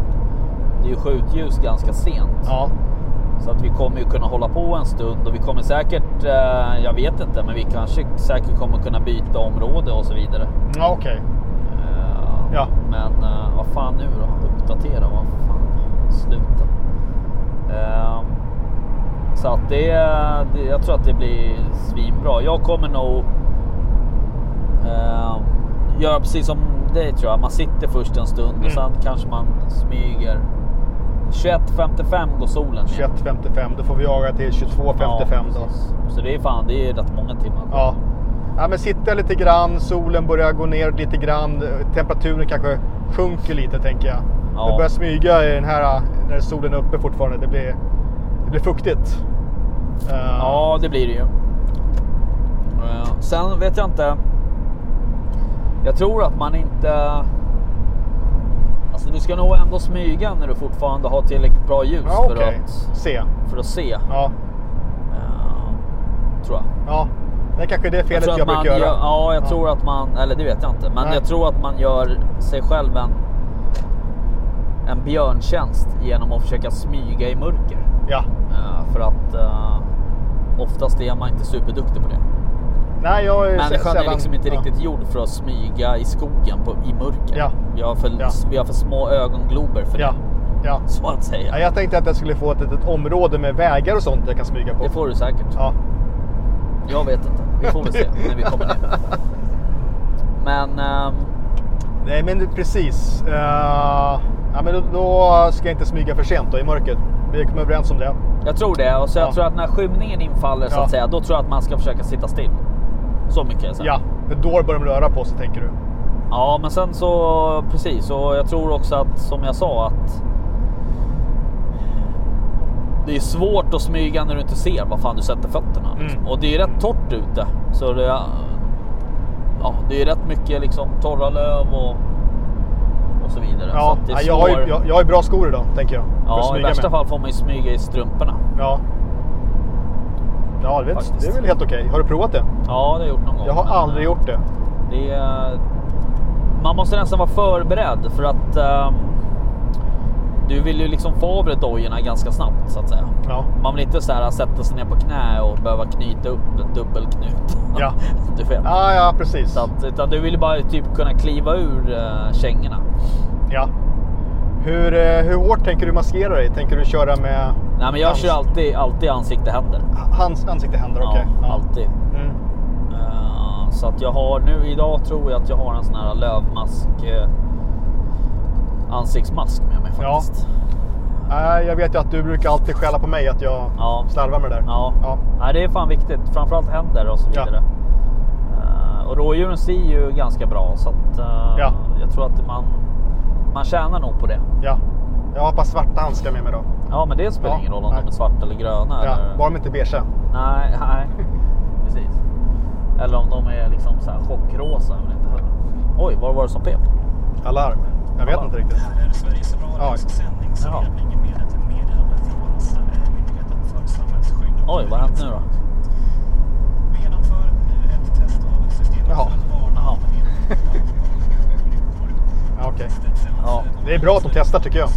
S4: det är ju skjutljus ganska sent.
S5: Ja.
S4: Så att vi kommer ju kunna hålla på en stund och vi kommer säkert, eh, jag vet inte, men vi kanske säkert kommer kunna byta område och så vidare.
S5: Ja, okej.
S4: Eh,
S5: Ja.
S4: Men eh, vad fan nu då? Uppdatera, vad fan? Sluta. Eh, så att det, det, jag tror att det blir svinbra. Jag kommer nog eh, göra precis som dig tror jag. Man sitter först en stund
S5: Mm.
S4: och sen kanske man smyger. 21.55 går solen ner.
S5: 21.55, då får vi jaga till 22.55
S4: Ja,
S5: då.
S4: precis. Så det är fan, det är rätt många timmar.
S5: Ja. ja, men sitta lite grann, solen börjar gå ner lite grann, temperaturen kanske sjunker lite tänker jag.
S4: Ja.
S5: Det börjar smyga i den här, när solen är uppe fortfarande, det blir, det blir fuktigt. Eh,
S4: Ja, det blir det ju. Eh, Sen vet jag inte. Jag tror att man inte... Alltså du ska nog ändå smyga när du fortfarande har tillräckligt bra ljus
S5: ja
S4: för,
S5: okej.
S4: att,
S5: Se.
S4: för att se.
S5: Ja.
S4: Eh, tror jag.
S5: ja, det är kanske är det
S4: jag
S5: felet
S4: tror
S5: jag,
S4: att man
S5: brukar göra.
S4: Gör, ja, jag tror att man... Eller det vet jag inte. Men
S5: Nej.
S4: jag tror att man gör sig själv en, en björntjänst genom att försöka smyga i mörker.
S5: Ja.
S4: Eh, för att eh, oftast är man inte superduktig på det.
S5: Nej, jag är sä-
S4: Människan är
S5: sällan-
S4: liksom inte riktigt gjord för att smyga i skogen på, i mörker.
S5: Ja.
S4: Vi, har för,
S5: Ja.
S4: vi har för små ögonglober för
S5: Ja. Ja.
S4: det.
S5: ja.
S4: Så att
S5: ja.
S4: säga.
S5: Jag tänkte att jag skulle få ett litet område med vägar och sånt jag kan smyga på.
S4: Det får du säkert.
S5: Ja.
S4: Jag vet inte. Vi får väl se när vi kommer ner. Men ehm,
S5: Nej men precis. Eh, ja, men då, då ska jag inte smyga för sent då i mörkret. Vi kom överens om det.
S4: jag tror det. Och så
S5: Ja.
S4: jag tror att när skymningen infaller så
S5: Ja.
S4: att säga, då tror jag att man ska försöka sitta still. Så mycket är jag säker.
S5: Ja, för då börjar de röra på sig tänker du.
S4: Ja, men sen så precis. Och jag tror också att som jag sa att. Det är svårt att smyga när du inte ser vad fan du sätter fötterna. Liksom.
S5: Mm.
S4: Och det är rätt torrt ute. Så det är, ja, det är rätt mycket liksom torra löv och, och så vidare. så
S5: Ja,
S4: att det
S5: ja,
S4: är
S5: jag, har
S4: svår-
S5: ju, jag, jag har ju bra skor idag tänker jag. för att
S4: ja i
S5: smyga
S4: värsta
S5: med.
S4: fall får man ju smyga i strumporna.
S5: Ja. Ja, det, vet,
S4: Faktiskt.
S5: det är väl helt okej. Har du provat det?
S4: Ja, det har jag gjort någon gång.
S5: Jag har
S4: men,
S5: aldrig gjort det.
S4: Det är, man måste nästan vara förberedd för att ehm, du vill ju liksom få av dig dojorna ganska snabbt så att säga.
S5: Ja.
S4: Man vill inte så här sätta sig ner på knä och behöva knyta upp en dubbelknut.
S5: Ja.
S4: du vet.
S5: Ja, ja precis.
S4: Så att, utan du vill ju bara typ kunna kliva ur uh, kängorna.
S5: Ja. Hur, eh, hur hårt tänker du maskera dig? Tänker du köra med
S4: Nej, men jag
S5: Ans-
S4: kör alltid, alltid ansikte händer.
S5: hans ansikte händer? Okej.
S4: Ja, alltid.
S5: Mm.
S4: Eh, Så att jag har nu idag tror jag att jag har en sån här lövmask. eh, ansiktsmask med mig
S5: Ja.
S4: faktiskt.
S5: Nej, jag vet ju att du brukar alltid skälla på mig att jag
S4: Ja.
S5: slarvar med det där.
S4: Ja.
S5: Ja.
S4: Nej, det är fan viktigt. Framförallt händer och så
S5: Ja.
S4: vidare. Eh, och rådjuren ser ju ganska bra så att eh,
S5: Ja.
S4: jag tror att man, man tjänar nog på det.
S5: Ja. Jag har ett par svarta handskar med mig då.
S4: Ja, men det spelar
S5: Ja,
S4: ingen roll om
S5: nej.
S4: de är svarta eller gröna.
S5: Ja,
S4: eller...
S5: bara de inte är beiga.
S4: Nej, nej. Precis. Eller om de är liksom så här chockrosa. Jag vet inte heller. Oj, vad var det som pep?
S5: Alarm. Jag vet
S4: Alarm.
S5: inte riktigt.
S6: Här är Sveriges Radios
S5: Ja.
S6: sändning som
S4: Jaha.
S6: Blekinge med ett meddelande från eh, Myndigheten för samhällsskydd. och
S4: Oj, vad har hänt nu då?
S6: Vi genomför nu ett test av
S5: Jaha.
S4: Ja.
S5: Ja, okej.
S4: Ja.
S5: Det är bra att de testar tycker jag.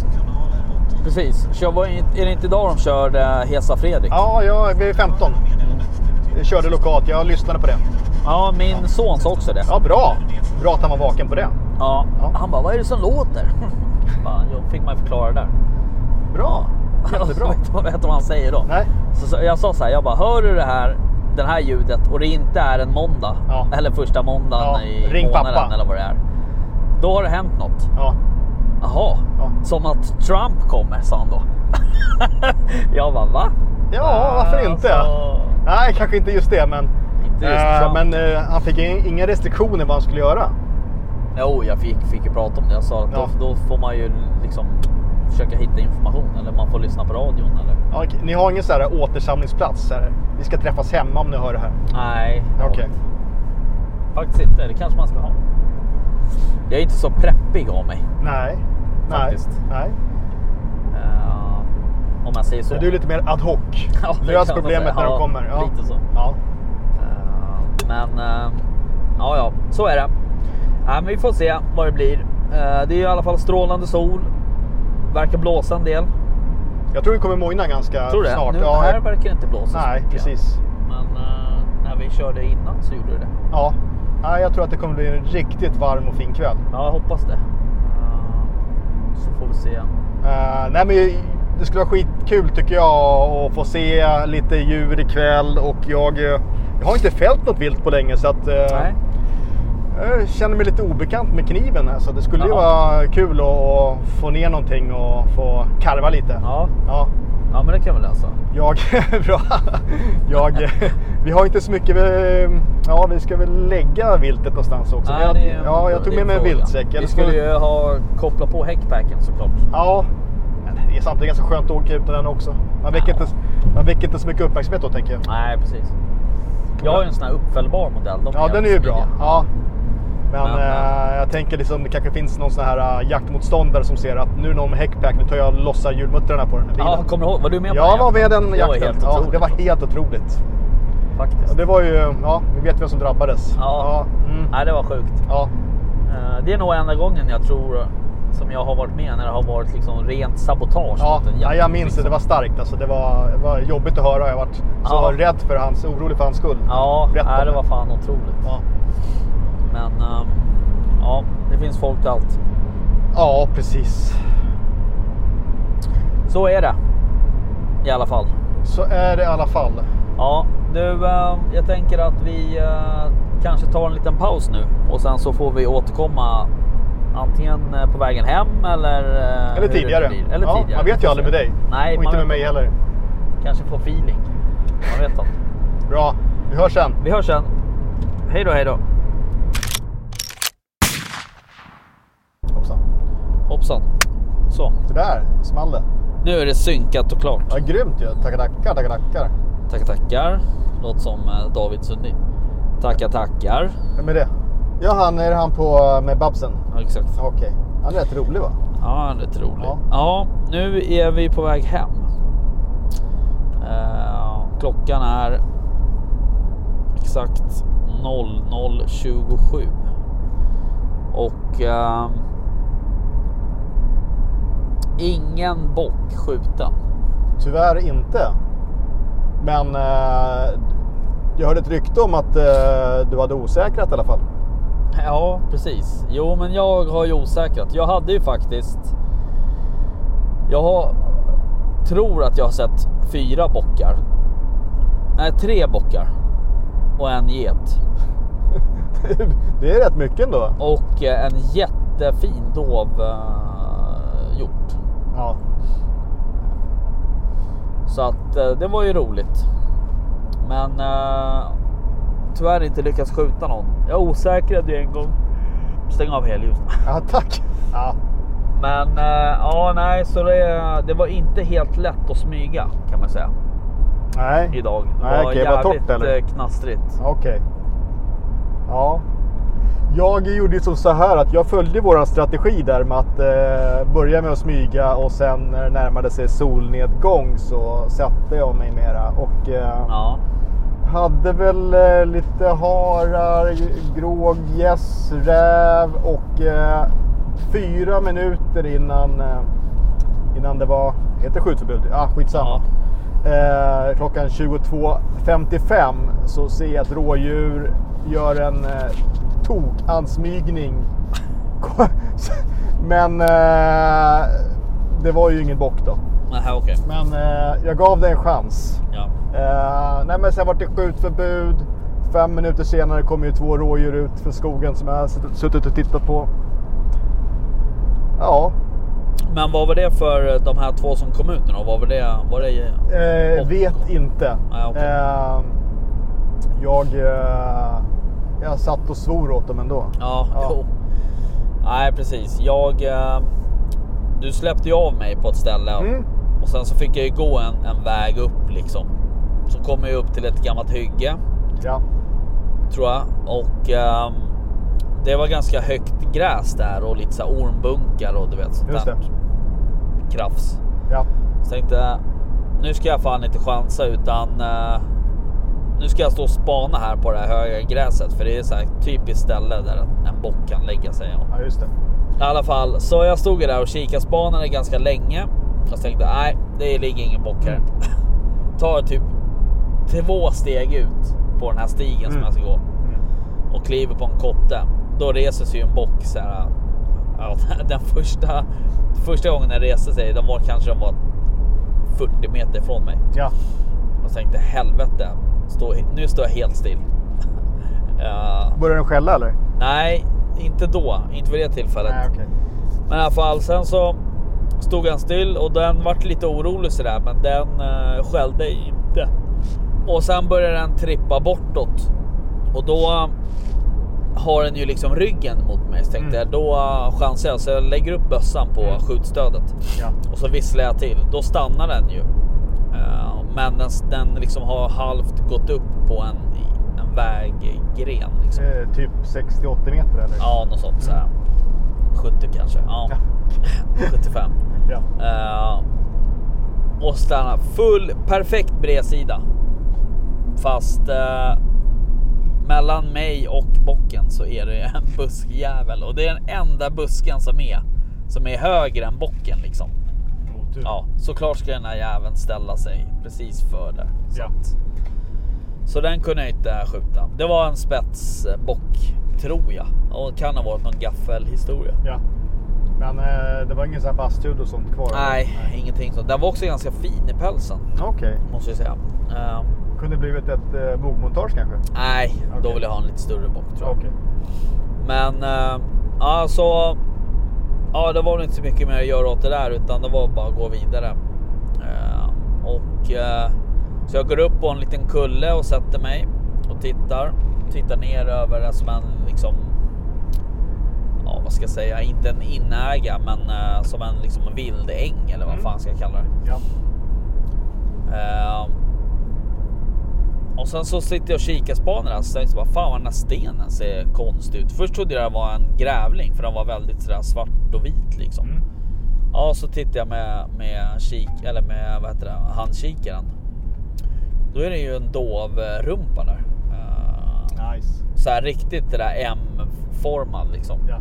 S4: Precis. Kör, var- är det inte idag de körde Hesa Fredrik?
S5: Ja, jag blev 15. Jag körde lokalt, jag lyssnade på det.
S4: Ja, min son sa också det.
S5: Ja, bra! Bra att han var vaken på det.
S4: Ja.
S5: Ja.
S4: Han bara, vad är det som låter? Bara, Jo, fick man förklara där.
S5: Bra! Jättebra.
S4: vet vad- vet du vad han säger då?
S5: Nej.
S4: Så, så, jag sa så här, jag bara, hör du det här, den här ljudet och det inte är en måndag
S5: Ja.
S4: eller första måndagen
S5: Ja,
S4: i
S5: ring
S4: månaden
S5: pappa.
S4: eller vad det är. Då har det hänt något.
S5: Ja.
S4: Jaha,
S5: Ja.
S4: som att Trump kommer sa han då. jag bara, va?
S5: ja, varför inte?
S4: Alltså,
S5: Nej, kanske inte just det, men...
S4: Inte just
S5: Eh,
S4: Trump.
S5: men eh, han fick in- inga restriktioner vad han skulle göra.
S4: Jo, jag fick, fick ju prata om det. Jag sa att
S5: Ja.
S4: då, då får man ju liksom försöka hitta information eller man får lyssna på radion eller.
S5: Ja, okej. ni har ingen så här återsamlingsplats? Så här. Vi ska träffas hemma om ni hör det här.
S4: Nej, jag
S5: Okej.
S4: vet. faktiskt inte. Det kanske man ska ha. Jag är inte så preppig av mig.
S5: Nej. Nej.
S4: Faktiskt.
S5: Nej.
S4: eh, om man säger så.
S5: Så du är lite mer ad hoc.
S4: Ja, det kan
S5: Lös
S4: man säga.
S5: problemet när
S4: Ja,
S5: de kommer. Ja.
S4: lite så.
S5: Ja.
S4: Eh, men eh, ja, ja, så är det. Ja, men vi får se vad det blir. Eh, det är i alla fall strålande sol. Verkar blåsa en del.
S5: Jag tror det kommer mojna ganska
S4: Tror du det?
S5: snart.
S4: Nu,
S5: ja,
S4: här
S5: jag-
S4: verkar det inte blåsa så
S5: Nej,
S4: mycket.
S5: precis.
S4: Men eh, när vi körde innan så gjorde det det.
S5: Ja. Nej, jag tror att det kommer bli en riktigt varm och fin kväll.
S4: Ja, jag hoppas det. Eh, så får vi se.
S5: Eh, nej, men det skulle vara skitkul tycker jag att få se lite djur ikväll och jag, eh, jag har inte fällt något vilt på länge så att eh,
S4: Nej.
S5: jag känner mig lite obekant med kniven här, så det skulle ju
S4: Ja.
S5: vara kul att, att få ner någonting och få karva lite.
S4: Ja.
S5: Ja,
S4: ja, men det kan vi lösa.
S5: jag, bra. Jag, vi har inte så mycket, eh, ja vi ska väl lägga viltet någonstans också.
S4: Nej,
S5: jag,
S4: Ah, det är-
S5: ja, jag tog
S4: det är
S5: med mig en
S4: fråga.
S5: viltsäck.
S4: Vi
S5: Eller
S4: skulle
S5: så-
S4: ju ha kopplat på häckpacken såklart.
S5: Ja, men det är samtidigt ganska skönt att åka utan den också. Man väcker, inte, man väcker inte så mycket uppmärksamhet då tänker jag.
S4: Nej, precis. Jag har ju en sån här uppfällbar modell. De
S5: Ja, den är ju
S4: jävligt
S5: bra.
S4: smidiga.
S5: Ja. Men,
S4: Men, men.
S5: eh, jag tänker liksom, det kanske finns någon sån här eh, jaktmotståndare som ser att nu är någon med häckpack, nu tar jag och lossar hjulmuttrarna på den här bilen.
S4: Ja, kommer du ihåg? Var du med på
S5: jag
S4: den
S5: var med
S4: jakten?
S5: den
S4: Det var
S5: jakten.
S4: helt
S5: ja,
S4: otroligt.
S5: det var helt otroligt.
S4: Faktiskt.
S5: Ja, Det var ju, ja, vi vet vem som drabbades.
S4: Ja.
S5: Ja, mm,
S4: Nej, det var sjukt.
S5: ja.
S4: Eh, Det är nog enda gången jag tror som jag har varit med när det har varit liksom rent sabotage.
S5: Ja,
S4: mot en
S5: ja,
S4: jakt,
S5: jag minns det.
S4: liksom.
S5: Det var starkt alltså. Det var, det var jobbigt att höra. Jag varit så
S4: Ja.
S5: rädd för hans, orolig för hans skull.
S4: Ja,
S5: Berätta
S4: nej,
S5: om
S4: det var fan otroligt.
S5: Ja.
S4: Men ehm, ja, det finns folk till allt.
S5: ja, precis.
S4: Så är det. I alla fall.
S5: Så är det i alla fall.
S4: Ja, du, ehm, jag tänker att vi eh, kanske tar en liten paus nu och sen så får vi återkomma antingen eh, på vägen hem eller... eh, hur
S5: Eller
S4: det nu
S5: tidigare.
S4: blir. Eller
S5: ja,
S4: tidigare.
S5: Man vet ju aldrig med dig.
S4: Nej,
S5: och inte
S4: man
S5: med mig heller.
S4: kanske får feeling. Man vet aldrig.
S5: Bra, vi hörs sen.
S4: Vi hörs sen. Hej då, hej då.
S5: Hoppsan.
S4: Hoppsan. Så,
S5: Det där small det.
S4: nu är det synkat och klart.
S5: Ja, grymt ju. Tackar, tackar, tackar, tackar.
S4: Tackar, tackar. Låter som eh, David Sundin. Tackar, tackar.
S5: Vem är det? Ja, han är han på med Babsen.
S4: Ja, exakt.
S5: Ja, Okej. Han är rätt rolig va?
S4: Ja, rätt rolig. Ja.
S5: Ja.
S4: nu är vi på väg hem. Eh, klockan är exakt 00.27. Och ehm, ingen bock skjuten.
S5: Tyvärr inte. Men eh, jag hörde ett rykte om att eh, du hade osäkrat i alla fall.
S4: Ja, precis. Jo, men jag har ju osäkrat. Jag hade ju faktiskt. Jag har, tror att jag har sett fyra bockar. Nej, tre bockar och en get
S5: det är rätt mycket ändå.
S4: och eh, en jättefin dov eh, hjort.
S5: Ja.
S4: Så att eh, det var ju roligt. Men eh, tyvärr inte lyckats skjuta någon. Jag osäkrade ju en gång. Stäng av helljusen.
S5: ja, tack. Ja.
S4: Men eh, ja, nej, så det, det var inte helt lätt att smyga kan man säga
S5: Nej.
S4: idag. Det
S5: Nej,
S4: var
S5: okej, var torrt,
S4: jävligt
S5: eller?
S4: eh, knastrigt.
S5: Okej. Ja. Jag gjorde ju som så här att jag följde våran strategi där med att eh, börja med att smyga och sen när det närmade sig solnedgång så satte jag mig mera och eh,
S4: Ja,
S5: Hade väl eh, lite harar, gråg, gäss, räv och eh, fyra minuter innan, eh, innan det var, heter skjutförbud? Ah, skitsamma. Eh, klockan 22.55 så ser jag ett rådjur gör en eh, tokansmygning. Men eh, det var ju ingen bock då.
S4: Nähä, okej.
S5: Men eh, jag gav det en chans.
S4: Ja.
S5: Eh, nej men sen vart det skjutförbud. Fem minuter senare kom ju två rådjur ut för skogen som jag har suttit- suttit och tittat på. Ja,
S4: Men vad var det för eh, de här två som kom ut nu då? Vad var det? Var det...
S5: eh,
S4: Och-
S5: vet inte.
S4: Nej, okej.
S5: Eh, jag, eh, jag satt och svor åt dem ändå.
S4: Ja,
S5: Ja.
S4: Jo. Nej, precis. Jag... eh, Du släppte ju av mig på ett ställe
S5: Mm.
S4: och sen så fick jag ju gå en, en väg upp liksom. Så kom jag ju upp till ett gammalt hygge
S5: Ja.
S4: tror jag och ehm, det var ganska högt gräs där och lite så här ormbunkar och du vet sånt
S5: Just
S4: där
S5: det.
S4: krafs.
S5: Ja.
S4: Så tänkte jag, nu ska jag fan inte chansa utan eh, nu ska jag stå och spana här på det här höga gräset för det är så här typiskt ställe där en bock kan lägga sig. Och
S5: ja, just det.
S4: i alla fall, så jag stod ju där och kikade, spanade ganska länge. Jag tänkte, nej, det ligger ingen bock
S5: Mm.
S4: här. Tar typ två steg ut på den här stigen som
S5: Mm.
S4: jag ska gå och kliver på en kotte. Då reser sig ju en bock så här. Ja, den första, första gången den reste sig, den var kanske de var 40 meter ifrån mig.
S5: Ja.
S4: Och tänkte helvete, stå, nu står jag helt still. Ja,
S5: Börjar den skälla eller?
S4: nej, inte då, inte vid det tillfället.
S5: Nej, okej.
S4: Men i alla fall, sen så stod han still och den vart lite orolig sådär, men den eh, skällde inte. Och sen började den trippa bortåt och då eh, har den ju liksom ryggen mot mig. Så tänkte
S5: Mm.
S4: jag, då eh, chansar jag. Så jag lägger upp bössan på
S5: Mm.
S4: skjutstödet
S5: Ja.
S4: och så visslar jag till. Då stannar den ju. Eh, men den, den liksom har halvt gått upp på en, en väggren. Liksom.
S5: Eh, typ 60-80 meter eller?
S4: Ja, något sånt såhär. 70 kanske. Ja.
S5: Mm. Ja.
S4: 75.
S5: ja.
S4: Eh, och stanna full, perfekt bredsida. Fast eh, mellan mig och bocken så är det en buskjävel och det är den enda busken som är som är högre än bocken liksom.
S5: Mm. Otur.
S4: Ja, såklart ska den här jäveln ställa sig precis för det. Så,
S5: Ja.
S4: att, så den kunde jag inte skjuta. Det var en spetsbock tror jag och kan ha varit någon gaffelhistoria.
S5: ja. Men eh, det var ingen sån här bastud och sånt kvar? eller?
S4: Nej, ingenting sånt. Den var också ganska fin i pälsen.
S5: Okej.
S4: Måste jag säga. Ehm,
S5: Kunde blivit ett eh, bogmontage kanske?
S4: nej, då
S5: Okej.
S4: vill jag ha en lite större bock tror jag.
S5: Okej.
S4: Men ehm, ja, så. Ja, det var väl inte så mycket mer att göra åt det där utan det var bara att gå vidare. Ehm, och eh, så jag går upp på en liten kulle och sätter mig och tittar. Tittar ner över det som en liksom. Ja, vad ska jag säga? Inte en inäga, men eh, som en liksom vild äng eller vad
S5: Mm.
S4: fan ska jag kalla det?
S5: Ja.
S4: Ehm, och sen så sitter jag och kikar spanar och tänkte jag bara fan vad den här stenen ser konstig ut. Först trodde jag det var en grävling för den var väldigt sådär svart och vit liksom.
S5: Mm.
S4: Ja, så tittar jag med, med kik eller med vad heter det, handkikaren. Då är det ju en dov eh, rumpa där. Ehm,
S5: Nice.
S4: så här riktigt det där M-formad liksom.
S5: Ja.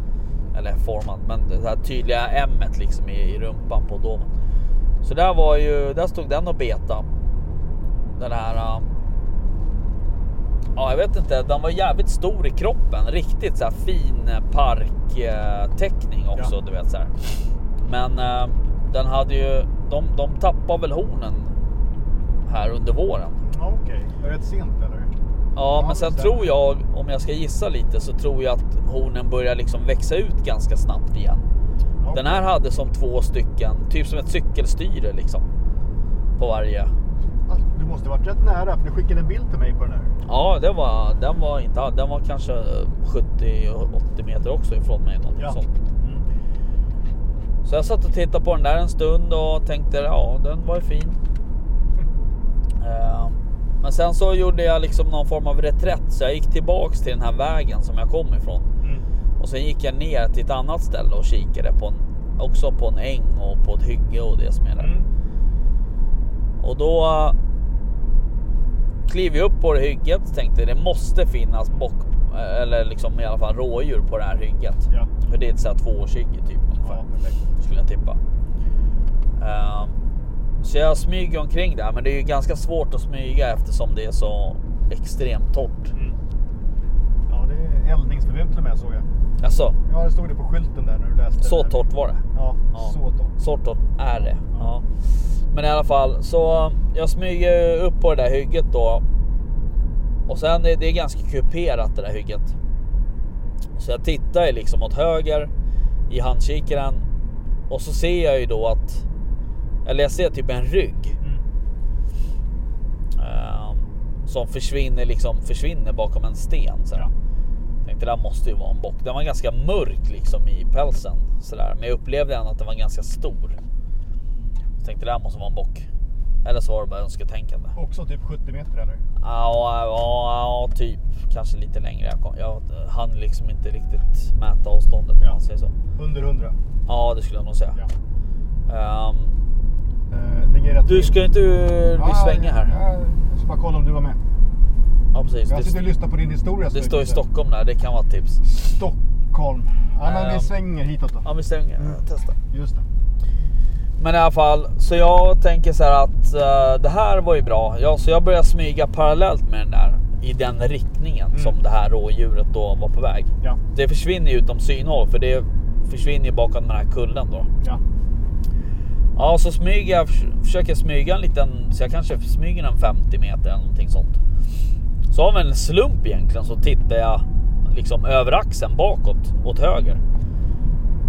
S4: Eller formad, men det här tydliga M liksom i, i rumpan på domen. Så där var ju, där stod den och beta. Den här... äh, Ja, jag vet inte. Den var jävligt stor i kroppen. Riktigt så här fin parktäckning också,
S5: Ja.
S4: du vet så här. Men äh, den hade ju, de, de tappade väl hornen här under våren.
S5: Mm, Okej. Var det rätt sent eller?
S4: Ja,
S5: Ja,
S4: men
S5: det
S4: sen
S5: stämmer.
S4: tror jag, om jag ska gissa lite, så tror jag att hornen börjar liksom växa ut ganska snabbt igen.
S5: Okej.
S4: Den här hade som två stycken, typ som ett cykelstyre liksom. På varje.
S5: Ah, Du måste varit rätt nära för du skickade en bild till mig på den här.
S4: Ja, det var, den var inte, den var kanske 70-80 meter också ifrån mig. Något sånt.
S5: Mm.
S4: Så jag satt och tittade på den där en stund och tänkte ja, den var ju fin. Eh, Men sen så gjorde jag liksom någon form av reträtt så jag gick tillbaks till den här vägen som jag kom ifrån.
S5: Mm.
S4: Och sen gick jag ner till ett annat ställe och kikade på en, också på en äng och på ett hygge och det som är där.
S5: Mm.
S4: Och då klev jag upp på det hygget och tänkte det måste finnas bock eller liksom i alla fall rådjur på det här hygget.
S5: Ja.
S4: För det är ett så här tvåårshygge typ.
S5: Ja,
S4: ungefär,
S5: perfekt.
S4: skulle jag tippa. Ehm, så jag smyger omkring där men det är ju ganska svårt att smyga eftersom det är så extremt torrt.
S5: Mm. Ja, det är eldningsförbud till och med såg jag.
S4: Alltså,
S5: Ja, det stod det på skylten där när du läste.
S4: så
S5: den där.
S4: torrt var det.
S5: Ja,
S4: Ja.
S5: så torrt.
S4: Sortot är det. Ja. Men i alla fall, så um, jag smyger upp på det där hygget då. Och sen, är det är ganska kuperat det där hygget. Så jag tittar ju liksom åt höger i handkikaren. Och så ser jag ju då att, eller jag ser typ en rygg.
S5: Mm.
S4: ehm, som försvinner liksom, försvinner bakom en sten. Så här.
S5: Ja.
S4: Tänkte det där måste ju vara en bock. Den var ganska mörk liksom i pälsen. Så där. Men jag upplevde ändå att den var ganska stor. Så tänkte det där måste vara en bock. Eller så var det bara önsketänkande.
S5: Också typ 70 meter eller?
S4: Ja, ja, ja, ja, typ kanske lite längre. Jag, kom, jag hann liksom inte riktigt mäta avståndet om
S5: Ja.
S4: man säger så.
S5: Under 100.
S4: Ja, det skulle jag nog säga.
S5: Ja.
S4: Ehm,
S5: Eh, Det är rätt Ah,
S4: du ska inte ur- vi svänga här.
S5: Ja, jag ska bara kolla om du var med.
S4: Ja, precis.
S5: Jag sitter och
S4: Det,
S5: lyssnar på Mm. din historia.
S4: det
S5: så mycket,
S4: står i
S5: så-
S4: Stockholm där. Det kan vara ett tips.
S5: Stockholm. Ja, men vi
S4: Ehm.
S5: svänger hitåt då.
S4: Ja, vi stänger.
S5: Mm.
S4: Testa.
S5: Just det.
S4: Men i alla fall, så jag tänker så här att eh, det här var ju bra. Ja, så jag börjar smyga parallellt med den där i den riktningen
S5: Mm.
S4: som det här rådjuret då var på väg.
S5: Ja,
S4: Det försvinner ju utom synhåll för det försvinner ju bakom den här kullen då.
S5: ja.
S4: Ja, så smyger jag, förs- försöker smyga en liten, så jag kanske smyger en 50 meter eller någonting sånt. Så av en slump egentligen så tittar jag liksom över axeln bakåt åt höger.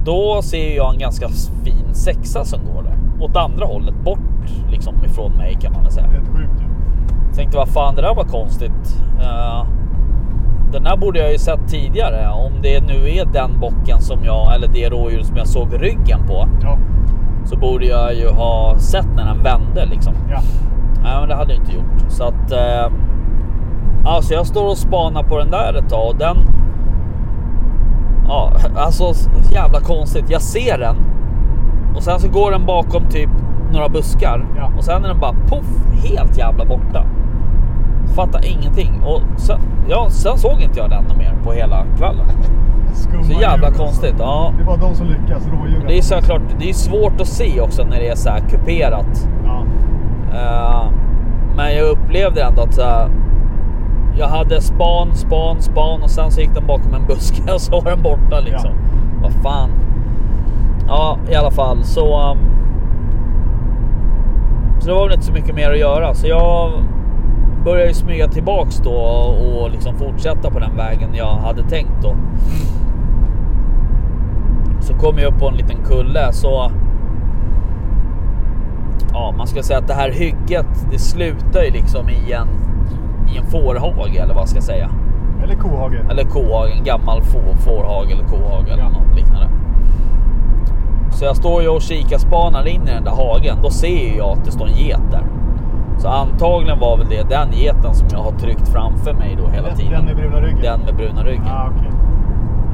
S4: Då ser jag en ganska fin sexa som går där. Åt andra hållet, bort liksom ifrån mig kan man väl säga.
S5: Helt sjukt ju.
S4: Tänkte vad fan det där var konstigt. Eh, den här borde jag ju sett tidigare. Om det nu är den bocken som jag, eller det rådjur som jag såg ryggen på.
S5: Ja,
S4: Så borde jag ju ha sett när den vände liksom.
S5: ja.
S4: Nej men det hade jag inte gjort. Så att... Eh, alltså jag står och spanar på den där ett tag och den... Ja, alltså jävla konstigt. Jag ser den. Och sen så går den bakom typ några buskar.
S5: Ja.
S4: Och sen är den bara poff, helt jävla borta. Fattar ingenting. Och sen, ja, sen såg inte jag den mer på hela kvällen.
S5: Skumma
S4: Så
S5: djur,
S4: jävla
S5: alltså.
S4: konstigt. Ja.
S5: Det är bara de som lyckas, rådjuren.
S4: Det är såklart, det är svårt att se också när det är så här kuperat.
S5: Ja,
S4: Eh, men jag upplevde ändå att så här, jag hade span, span, span och sen så gick den bakom en buske och så var den borta liksom. Vad fan. Ja, i alla fall så. ehm, så det var väl inte så mycket mer att göra så jag började ju smyga tillbaks då och liksom fortsätta på den vägen jag hade tänkt då. Så kom jag upp på en liten kulle så ja, man ska säga att det här hygget, det slutar ju liksom i en, i en fårhage eller vad ska jag säga.
S5: eller kohage.
S4: Eller kohage, en gammal få, fårhage eller kohage eller
S5: Ja.
S4: något liknande. Så jag står ju och kikarspanar in i den där hagen. Då ser ju jag att det står en get där. Så antagligen var väl det den geten som jag har tryckt framför mig då hela
S5: Den-
S4: tiden.
S5: den med bruna ryggen?
S4: Den med bruna ryggen.
S5: Ah, okej.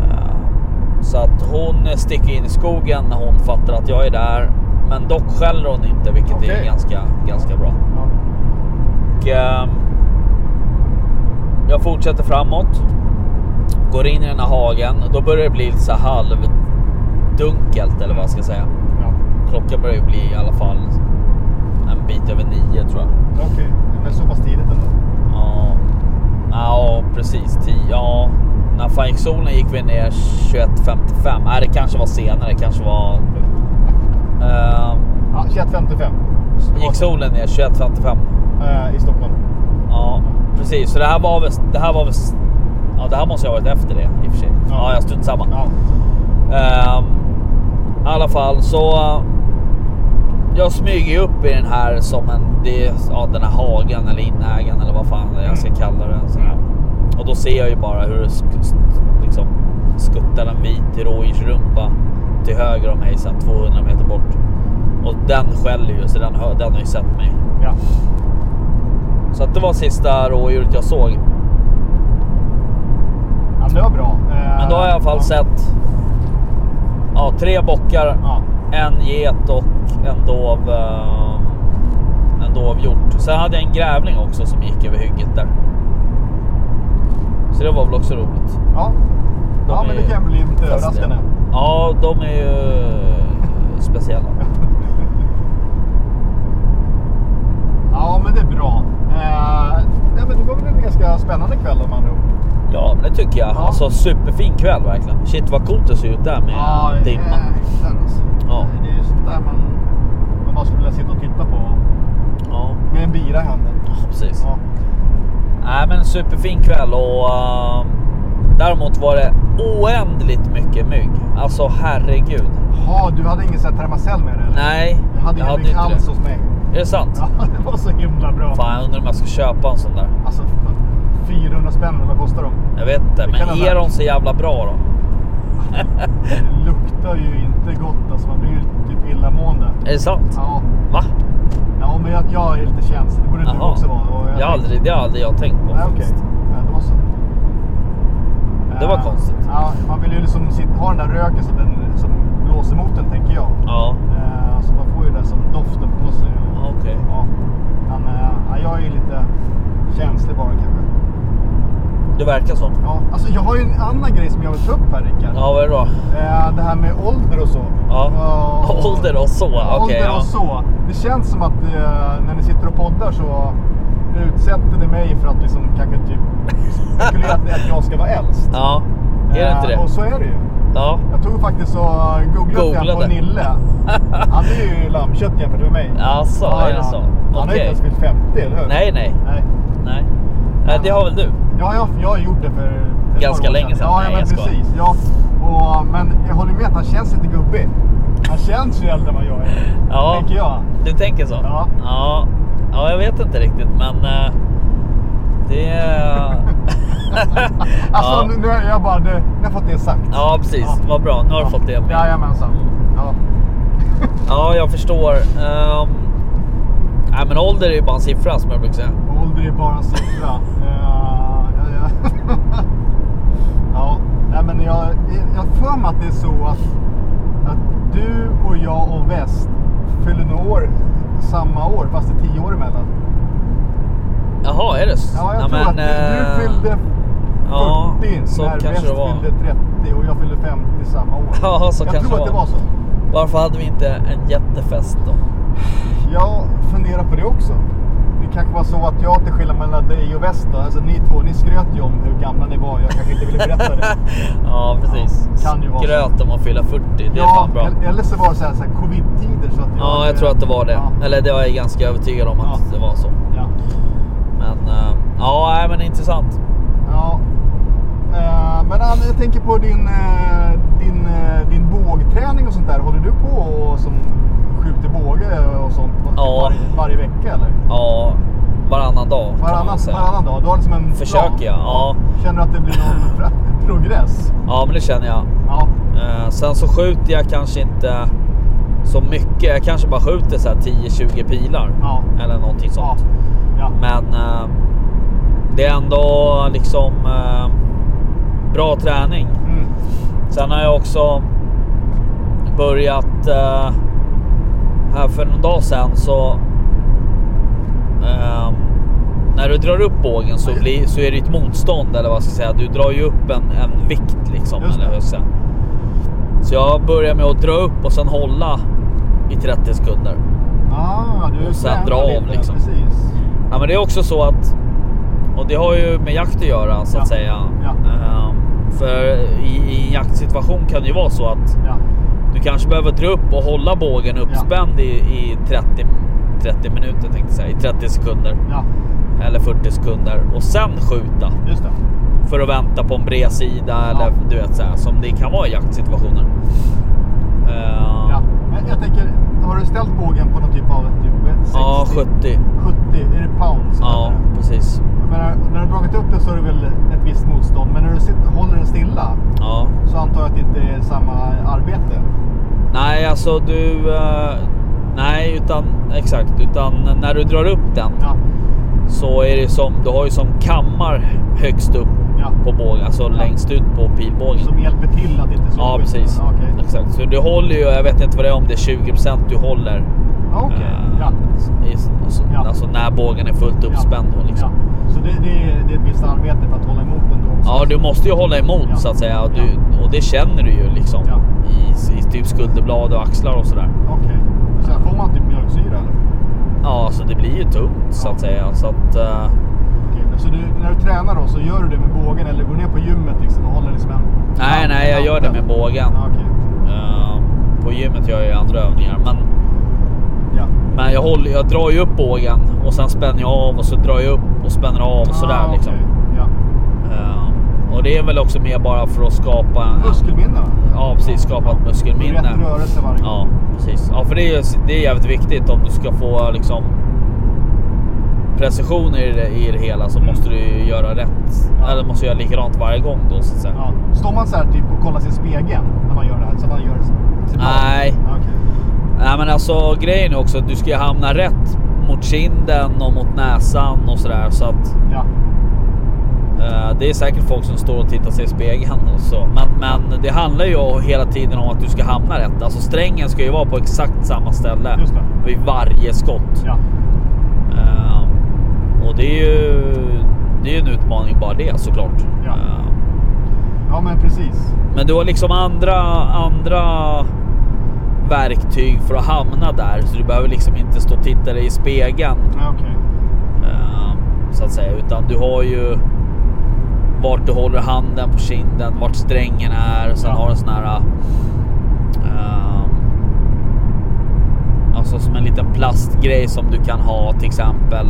S4: Eh, Så att hon sticker in i skogen när hon fattar att jag är där. Men dock skäller hon inte, vilket är
S5: Okej.
S4: ganska, ganska bra.
S5: Ja.
S4: Och, ehm, jag fortsätter framåt. Går in i den här hagen. Då börjar det bli lite så här halvdunkelt eller vad jag ska säga.
S5: ja.
S4: Klockan börjar ju bli i alla fall en bit över nio tror jag.
S5: Okej, men så pass tidigt ändå.
S4: Ja, ja precis. 10. Ja, när fan gick solen gick vi ner 21.55. Nej, det kanske var senare. Det kanske var... Eh,
S5: Ja, 21.55. Så det var
S4: gick
S5: så-
S4: solen ner 21.55?
S5: Eh, I Stockholm.
S4: Ja, precis. Så det här var väl... Det här, var väl ja, det här måste jag ha varit efter det i och för sig. Ja,
S5: Ja.
S4: jag strunt samma.
S5: Ja.
S4: Ehm, I alla fall så... eh, Jag smyger ju upp i den här som en... Det, ja, den här hagen eller inägen eller vad fan jag ska kalla den. Så här. Och då ser jag ju bara hur det sk- sk- liksom, skuttar en vit rådjursrumpa till höger om mig, så här 200 meter bort. Och den skäller ju, så den, hör, den har ju sett mig.
S5: ja.
S4: Så att det var sista rådjuret jag såg.
S5: ja, men det var bra. Eh,
S4: Men då har jag i alla fall
S5: ja.
S4: sett ja, tre bockar
S5: Ja.
S4: En get och en dov, eh, en dov gjort. Sen hade jag en grävling också som gick över hygget där. Så det var väl också roligt.
S5: Ja,
S4: De
S5: ja men
S4: är
S5: det kan bli lite
S4: fast
S5: överraskande.
S4: det- Ja, de är ju speciella.
S5: Ja, men det är bra. Eh, ja, men det var väl en ganska spännande kväll om andra ord.
S4: Ja, men det tycker jag.
S5: Ja.
S4: Alltså superfin kväll verkligen. Shit vad coolt det ser ut där med dimman.
S5: exakt. Alltså.
S4: Ja.
S5: Det är ju sånt där man, man bara skulle vilja sitta och titta på.
S4: Ja,
S5: Med en bira i handen.
S4: precis.
S5: Ja.
S4: Nej men superfin kväll och ehm, däremot var det oändligt mycket mygg. Alltså herregud.
S5: Jaha, du hade ingen sån här termacell med dig? eller?
S4: Nej,
S5: Jag hade ju en
S4: inte det.
S5: bekant hos mig.
S4: Är det sant?
S5: Ja, det var så himla bra.
S4: Fan, jag undrar om jag ska köpa en sån där.
S5: Alltså, fan, 400 spänn, eller vad kostar de?
S4: Jag vet inte,
S5: Det
S4: men
S5: kan vara
S4: är de
S5: värt.
S4: så jävla bra då?
S5: Det luktar ju inte gott alltså, man blir ju typ illamående.
S4: Är det sant?
S5: Ja,
S4: Va?
S5: ja men jag, jag är lite känslig, det borde du
S4: Jaha.
S5: också vara. Och
S4: Jag har aldrig, det har aldrig jag tänkt på
S5: Nej, okej.
S4: faktiskt.
S5: Ja, det var så.
S4: Det var
S5: Eh,
S4: konstigt.
S5: Ja, man vill ju liksom sitta, ha den där röken så den, som blåser mot den, tänker jag.
S4: Ja,
S5: Eh, så man får ju den som doften på sig. Och,
S4: okej.
S5: ja. Men, eh, ja, jag är ju lite känslig bara kanske.
S4: Du verkar så.
S5: Ja, alltså jag har ju en annan grej som jag vill ta upp här Rickard.
S4: Ja, vad är det då?
S5: Eh, det här med ålder och så.
S4: Ja.
S5: Ja,
S4: Ålder och så, okej.
S5: ålder
S4: ja.
S5: och så. Det känns som att eh, när ni sitter och poddar så utsätter ni mig för att liksom kanske typ spekulera att att jag ska vara äldst.
S4: ja, är det
S5: Eh,
S4: inte det?
S5: Och så är det ju.
S4: Ja.
S5: Jag tog faktiskt och googlade lite grann på
S4: Googlade.
S5: Nille. Han är ju lammkött jämfört med mig.
S4: Alltså,
S5: Ja,
S4: är
S5: ja.
S4: det så?
S5: Han har ju
S4: Okej.
S5: inte ens fyllt 50, eller hur?
S4: Nej, nej,
S5: Nej.
S4: nej. Nej, det har väl du?
S5: Ja, jag, jag har gjort det för ett
S4: Ganska
S5: par år
S4: länge sedan.
S5: Ja,
S4: Nej,
S5: ja men
S4: jag skojar.
S5: precis. Ja. Och, men jag håller med att han känns lite gubbig. Han känns ju äldre än vad jag är.
S4: Ja.
S5: Tänker jag.
S4: Du tänker så?
S5: Ja.
S4: Ja, ja jag vet inte riktigt, men eh, det...
S5: Alltså
S4: ja.
S5: nu, nu är jag bara, nu, nu har jag fått det sagt.
S4: ja, precis.
S5: Ja.
S4: Vad bra. Nu har du fått det Mm. med.
S5: Jajamensan. Ja.
S4: Ja, jag förstår. Um, nej, men ålder är ju bara en siffra som jag brukar säga.
S5: Ålder är bara en siffra. Eh, ja, ja. ja, nej men jag jag har för mig att det är så att, att du och jag och väst fyller nog år samma år fast det är tio år emellan.
S4: Jaha, är det så?
S5: Ja, jag
S4: Nej,
S5: tror att du, du
S4: eh,
S5: fyllde 40
S4: ja, så
S5: när
S4: kanske
S5: väst
S4: det var.
S5: fyllde 30 och jag fyllde 50 samma år.
S4: Ja, så
S5: jag
S4: kanske
S5: tror att det var så.
S4: Varför hade vi inte en jättefest då?
S5: Jag funderar på det också. Det kanske var så att jag till skillnad mellan dig och väst då, alltså ni två, ni skröt ju om hur gamla ni var. Jag kanske inte ville berätta det.
S4: Ja, precis.
S5: Ja, kan ju vara så.
S4: Skröt om att fylla 40. Det är
S5: Ja,
S4: fan bra.
S5: el- eller så var det så här, så här covid-tider så att jag...
S4: Ja, jag tror att det var det.
S5: Ja,
S4: Eller det var jag ganska övertygad om att
S5: Ja.
S4: det var så.
S5: ja.
S4: Men eh, ja, nej, men intressant.
S5: ja. Eh, Men Ann, jag tänker på din, eh, din, eh, din bågträning och sånt där. Håller du på och som skjuter båge och sånt var-
S4: Ja.
S5: varje, varje vecka eller?
S4: Ja, varannan dag. kan
S5: Varannan,
S4: man säga.
S5: varannan dag? Du har liksom en plan?
S4: Försöker jag. Ja.
S5: Känner du att det blir någon pro- progress?
S4: ja, men det känner jag.
S5: Ja.
S4: Eh, sen så skjuter jag kanske inte så mycket. Jag kanske bara skjuter så här 10-20 pilar.
S5: Ja.
S4: Eller någonting
S5: Ja.
S4: sånt.
S5: ja.
S4: Men eh, det är ändå liksom eh, bra träning.
S5: Mm.
S4: Sen har jag också börjat eh, här för någon dag sedan så ehm, när du drar upp bågen så, blir, så är det ett motstånd eller vad ska jag säga. Du drar ju upp en, en vikt liksom.
S5: Just
S4: Eller hur jag ska säga. Så jag börjar med att dra upp och sen hålla i 30 sekunder.
S5: Ah, du
S4: Och sen
S5: tränar
S4: dra av,
S5: lite,
S4: liksom.
S5: Precis.
S4: Ja, men det är också så att, och det har ju med jakt att göra så att
S5: Ja.
S4: säga.
S5: Ja.
S4: Ehm, för i, i en jaktsituation kan det ju vara så att
S5: Ja.
S4: Du kanske behöver dra upp och hålla bågen uppspänd i, i 30, 30 minuter tänkte jag säga. I 30 sekunder.
S5: ja,
S4: Eller 40 sekunder. Och sen skjuta.
S5: just det.
S4: För att vänta på en bred sida eller du vet så här, Som det kan vara i jaktsituationer. Eh,
S5: Ja. Men jag tänker, har du ställt bågen på någon typ av typ 60?
S4: ja, 70.
S5: 70, är det pounds?
S4: Ja,
S5: eller?
S4: precis.
S5: Jag menar, när du har dragit upp den så är det väl ett visst motstånd. Men när du sitter, håller den stilla
S4: Ja.
S5: så antar jag att det inte är samma arbete.
S4: Nej, alltså du... eh, nej, utan exakt. Utan när du drar upp den
S5: Ja,
S4: så är det som... Du har ju som kammar högst upp
S5: ja.
S4: på bågen. Alltså längst ut på pilbågen.
S5: Som hjälper till att inte slå
S4: Ja,
S5: skiten.
S4: precis.
S5: Ja, okej.
S4: Exakt. Så du håller ju, jag vet inte vad det är, om det är 20% du håller.
S5: Ja, Okej,
S4: Eh,
S5: ja.
S4: i, alltså,
S5: Ja.
S4: alltså när bågen är fullt uppspänd då liksom.
S5: Ja. Så det, det, är, det är ett visst arbete för att hålla emot den då också?
S4: Ja, du måste ju hålla emot
S5: Ja.
S4: så att säga och, du, och det känner du ju liksom
S5: Ja.
S4: i, i typ skulderblad och axlar och sådär.
S5: Okej. Sen får man typ mjölksyra eller?
S4: Ja, så det blir ju tungt så att säga. Så att, eh,
S5: Okej, men Så du, när du tränar då så gör du det med bågen eller går ner på gymmet liksom och håller liksom en...
S4: nej, nej, jag gör det med bågen.
S5: Ja, Okej.
S4: Eh, på gymmet gör jag ju andra övningar, men,
S5: Ja.
S4: men jag, håller, jag drar ju upp bågen och sen spänner jag av och så drar jag upp och spänner av och sådär
S5: Ah,
S4: liksom.
S5: okej. Ja.
S4: Eh, och det är väl också mer bara för att skapa en,
S5: Muskelminne va?
S4: Ja precis, skapa ett muskelminne.
S5: Rätt rörelse varje gång.
S4: Ja precis. Ja för det är, det är jävligt viktigt om du ska få liksom precision i det, i det hela så
S5: Mm.
S4: måste du ju göra rätt.
S5: Ja.
S4: Eller måste göra likadant varje gång då så att säga.
S5: Ja. Står man så här typ och kollar sig i spegeln när man gör det här? Så man gör sitt
S4: Nej.
S5: Ja, okej.
S4: Nej men alltså grejen är också att du ska ju hamna rätt mot kinden och mot näsan och sådär så att
S5: Ja.
S4: eh, det är säkert folk som står och tittar sig i spegeln och så. Men, men det handlar ju hela tiden om att du ska hamna rätt. Alltså strängen ska ju vara på exakt samma ställe
S5: Just det.
S4: vid varje skott.
S5: Ja.
S4: Ehm, och det är ju det är ju en utmaning bara det såklart.
S5: Ja.
S4: Ehm,
S5: ja, men precis.
S4: men du har liksom andra, andra verktyg för att hamna där. Så du behöver liksom inte stå och titta dig i spegeln.
S5: Ja, okej.
S4: ehm, så att säga. Utan du har ju vart du håller handen på kinden, vart strängen är. Sen
S5: Ja.
S4: har du en sån här... ehm, alltså som en liten plastgrej som du kan ha till exempel.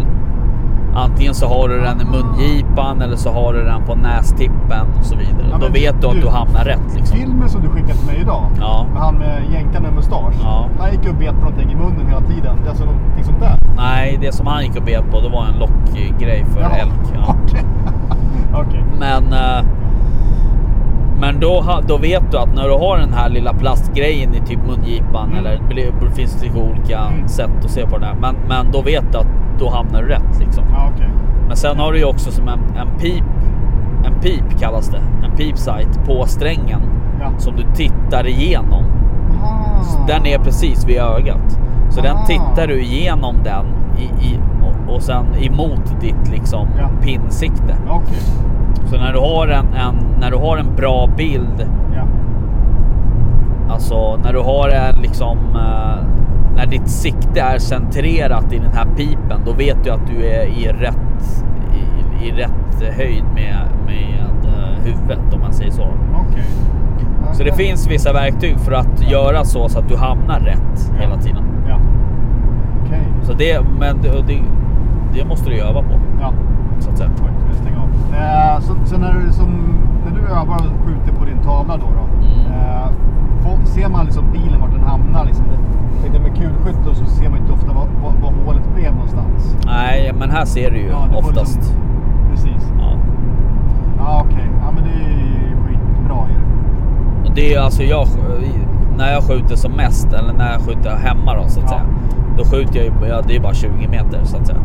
S4: Antingen så har du den i mungipan eller så har du den på nästippen och så vidare.
S5: Ja,
S4: Då
S5: men
S4: vet du att
S5: du-
S4: du hamnar rätt liksom.
S5: Filmen som du skickade till mig idag.
S4: Ja.
S5: Med han med jänkan med mustasch.
S4: Ja.
S5: Han gick ju och bet på någonting i munnen hela tiden. Det är alltså någonting sånt där.
S4: Nej, det som han gick och bet på det var en lockgrej för
S5: Jaha.
S4: älg. Ja.
S5: Okej. Okej.
S4: Men, eh, men då, ha- då vet du att när du har den här lilla plastgrejen i typ mungipan
S5: Mm.
S4: eller det finns lite olika
S5: Mm.
S4: sätt att se på det där. Men, men då vet du att då hamnar du rätt liksom.
S5: Ja, okej.
S4: Men sen har du ju också som en, en pip. En pip kallas det. En pipsight på strängen
S5: Ja.
S4: som du tittar igenom.
S5: Ah.
S4: Den är precis vid ögat. Så den
S5: Ah.
S4: tittar du igenom den i, i, och, och sen emot ditt liksom
S5: Ja.
S4: pinsikte.
S5: Okej.
S4: Så när du har en, en, när du har en bra bild,
S5: Ja.
S4: alltså när du har en liksom, eh, när ditt sikte är centrerat i den här pipen, då vet du att du är i rätt, i, i rätt höjd med, med eh, huvudet om man säger så.
S5: Okej.
S4: Så det finns vissa verktyg för att göra så, så att du hamnar rätt hela tiden.
S5: Ja. Okej.
S4: Så det, men det, det, det måste du öva på
S5: Ja.
S4: så att säga.
S5: Oj, nu stänger jag av. Eh, så, så när du, som, när du övar och skjuter på din tavla då, då
S4: Mm.
S5: eh, får, ser man liksom bilen vart den hamnar? Liksom, det, tänkte med kulskytte så ser man inte ofta vad, vad, vad hålet blev någonstans.
S4: Nej, men här ser du ju
S5: Ja, du får
S4: oftast.
S5: liksom- Precis.
S4: Ja.
S5: Ja, okej. Ja, men det är ju skitbra ju.
S4: Och Det är alltså jag, när jag skjuter som mest, eller när jag skjuter hemma då så att
S5: Ja.
S4: säga. Då skjuter jag ju, ja, det är bara 20 meter så att säga.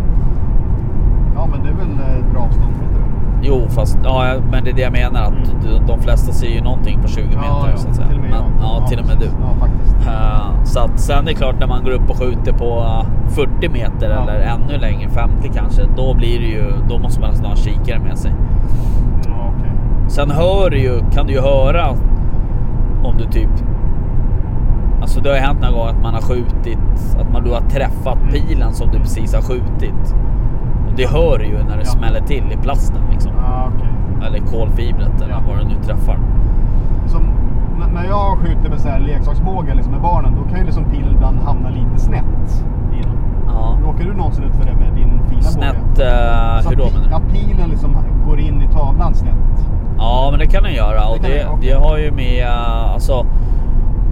S5: Ja, men det är väl eh, ett bra avstånd, tror inte du?
S4: Jo fast, ja men det är det jag menar att
S5: Mm.
S4: de- de flesta ser ju någonting på 20 meter
S5: Ja, ja.
S4: så att säga.
S5: Till och med
S4: men,
S5: jag.
S4: ja, till och med du.
S5: precis. Ja, faktiskt.
S4: Eh, så att sen är det klart när man går upp och skjuter på eh, 40 meter
S5: Ja.
S4: eller ännu längre, 50 kanske. Då blir det ju, då måste man nästan ha en kikare med sig.
S5: Ja, okej.
S4: Sen hör du ju, kan du ju höra om du typ... Alltså det har ju hänt några gånger att man har skjutit, att man, du har träffat
S5: Mm.
S4: pilen som du precis har skjutit. Och det hör du ju när det
S5: Ja.
S4: smäller till i plasten liksom.
S5: Ja, okej.
S4: Eller kolfibret eller
S5: Ja.
S4: vad det nu träffar.
S5: Som n- när jag skjuter med så här leksaksbågar liksom med barnen, då kan ju liksom pilen ibland hamna lite snett. i den.
S4: Ja.
S5: Råkar du någonsin ut för det med din fina båge?
S4: Snett, eh,
S5: Så
S4: hur då
S5: att pi-
S4: menar du?
S5: Ja, pilen liksom går in i tavlan snett.
S4: Ja men det kan den göra och
S5: Det kan
S4: det,
S5: den, okej.
S4: det har ju med, eh, alltså.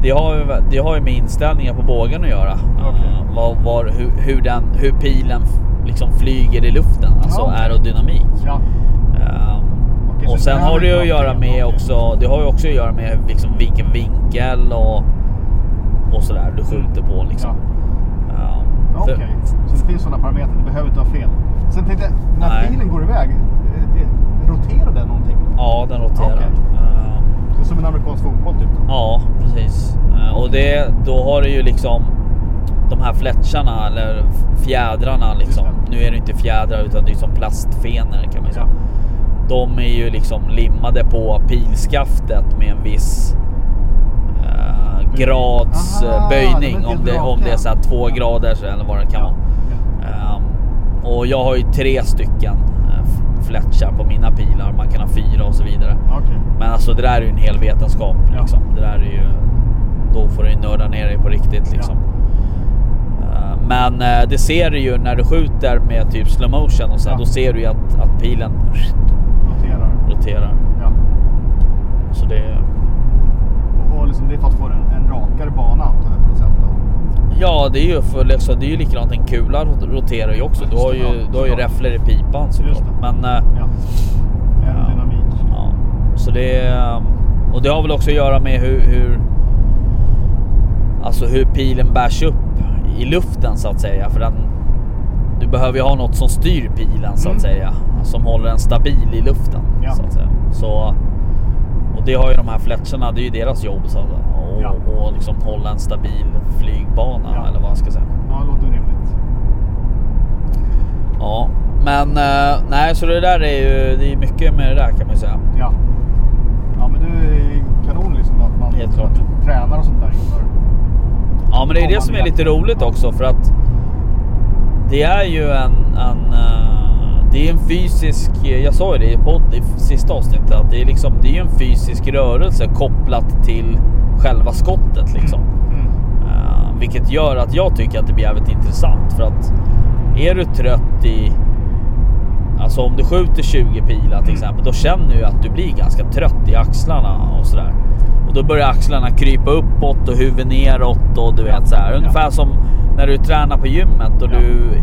S4: Det har, ju, det har ju med inställningen på bågen att göra.
S5: Okej.
S4: Eh, Vad, var, hur, hur, den, hur pilen f- liksom flyger i luften, alltså
S5: Ja, okej.
S4: aerodynamik.
S5: Ja,
S4: Ehm,
S5: Okej,
S4: och
S5: så
S4: sen
S5: det här
S4: har det
S5: är
S4: ju att
S5: någonting,
S4: göra med
S5: okej.
S4: också, det har ju också att göra med liksom vilken vinkel och, och sådär du skjuter på liksom. Ehm,
S5: ja,
S4: för-
S5: okej. Så det finns sådana parametrar, det behöver inte vara fel. Sen tänkte jag, när
S4: Nej.
S5: pilen går iväg, eh, eh, roterar den någonting?
S4: ja, den roterar.
S5: Okej.
S4: Ehm,
S5: Det är som en amerikansk fotboll typ? Då.
S4: Eh, ja, precis. Ehm, och det, då har du ju liksom de här fletcharna eller fjädrarna liksom.
S5: Just
S4: Nu är det inte fjädrar utan det är som plastfenor kan man ju säga. De är ju liksom limmade på pilskaftet med en viss eh, grads
S5: Aha,
S4: eh,
S5: de
S4: böjning.
S5: är
S4: Om
S5: inte
S4: det, om det är så här två
S5: raka.
S4: grader eller vad det kan vara. Ehm, och jag har ju tre stycken eh, f- fletchar på mina pilar. Man kan ha fyra och så vidare.
S5: Okej.
S4: Men alltså det där är ju en hel vetenskap.
S5: Ja.
S4: Liksom. Det där är ju, då får du ju nörda ner dig på riktigt. Liksom. Eh, Men eh, det ser du ju när du skjuter med typ slow motion och sen
S5: Ja.
S4: då ser du ju att, att pilen
S5: Noterar.
S4: roterar.
S5: Ja.
S4: Så det,
S5: Och, och liksom, det är för att få en, en rakare bana antar jag på något sätt. Då.
S4: ja, det är ju för, liksom, det är ju likadant. En kula rot- roterar ju också. Du
S5: Just
S4: har
S5: det,
S4: ju,
S5: ja,
S4: du har ju
S5: såklart.
S4: räfflor i pipan såklart.
S5: det.
S4: Men eh,
S5: Ja. Aerodynamik.
S4: Ja, så det... ehm, Och det har väl också att göra med hur... hur alltså hur pilen bärs upp i luften så att säga. För den, du behöver ju ha något som styr pilen så att
S5: Mm.
S4: säga. Som håller den stabil i luften.
S5: Ja.
S4: Så att säga. Så, och det har ju de här fletcherna, det är ju deras jobb. Så att, och,
S5: Ja.
S4: och liksom hålla en stabil flygbana
S5: Ja.
S4: eller vad jag ska säga.
S5: Ja, det låter rimligt.
S4: Ja, men eh, nej, så det där är ju det är mycket med det där kan man ju säga.
S5: Ja. Ja, men du är ju kanon liksom att man
S4: Helt klart.
S5: att du tränar och sånt där inför.
S4: Ja, men det är
S5: Om
S4: det
S5: man
S4: som är
S5: vill.
S4: lite roligt också för att det är ju en, en eh, det är en fysisk, jag sa ju det i podd i sista avsnittet, att det är liksom, det är ju en fysisk rörelse kopplat till själva skottet liksom.
S5: Mm.
S4: Eh, vilket gör att jag tycker att det blir jävligt intressant för att är du trött i Alltså om du skjuter 20 pilar till exempel, då känner du att du blir ganska trött i axlarna och sådär. Och då börjar axlarna krypa uppåt och huvudet neråt och du vet så här. Ungefär som när du tränar på gymmet och
S5: Ja.
S4: du...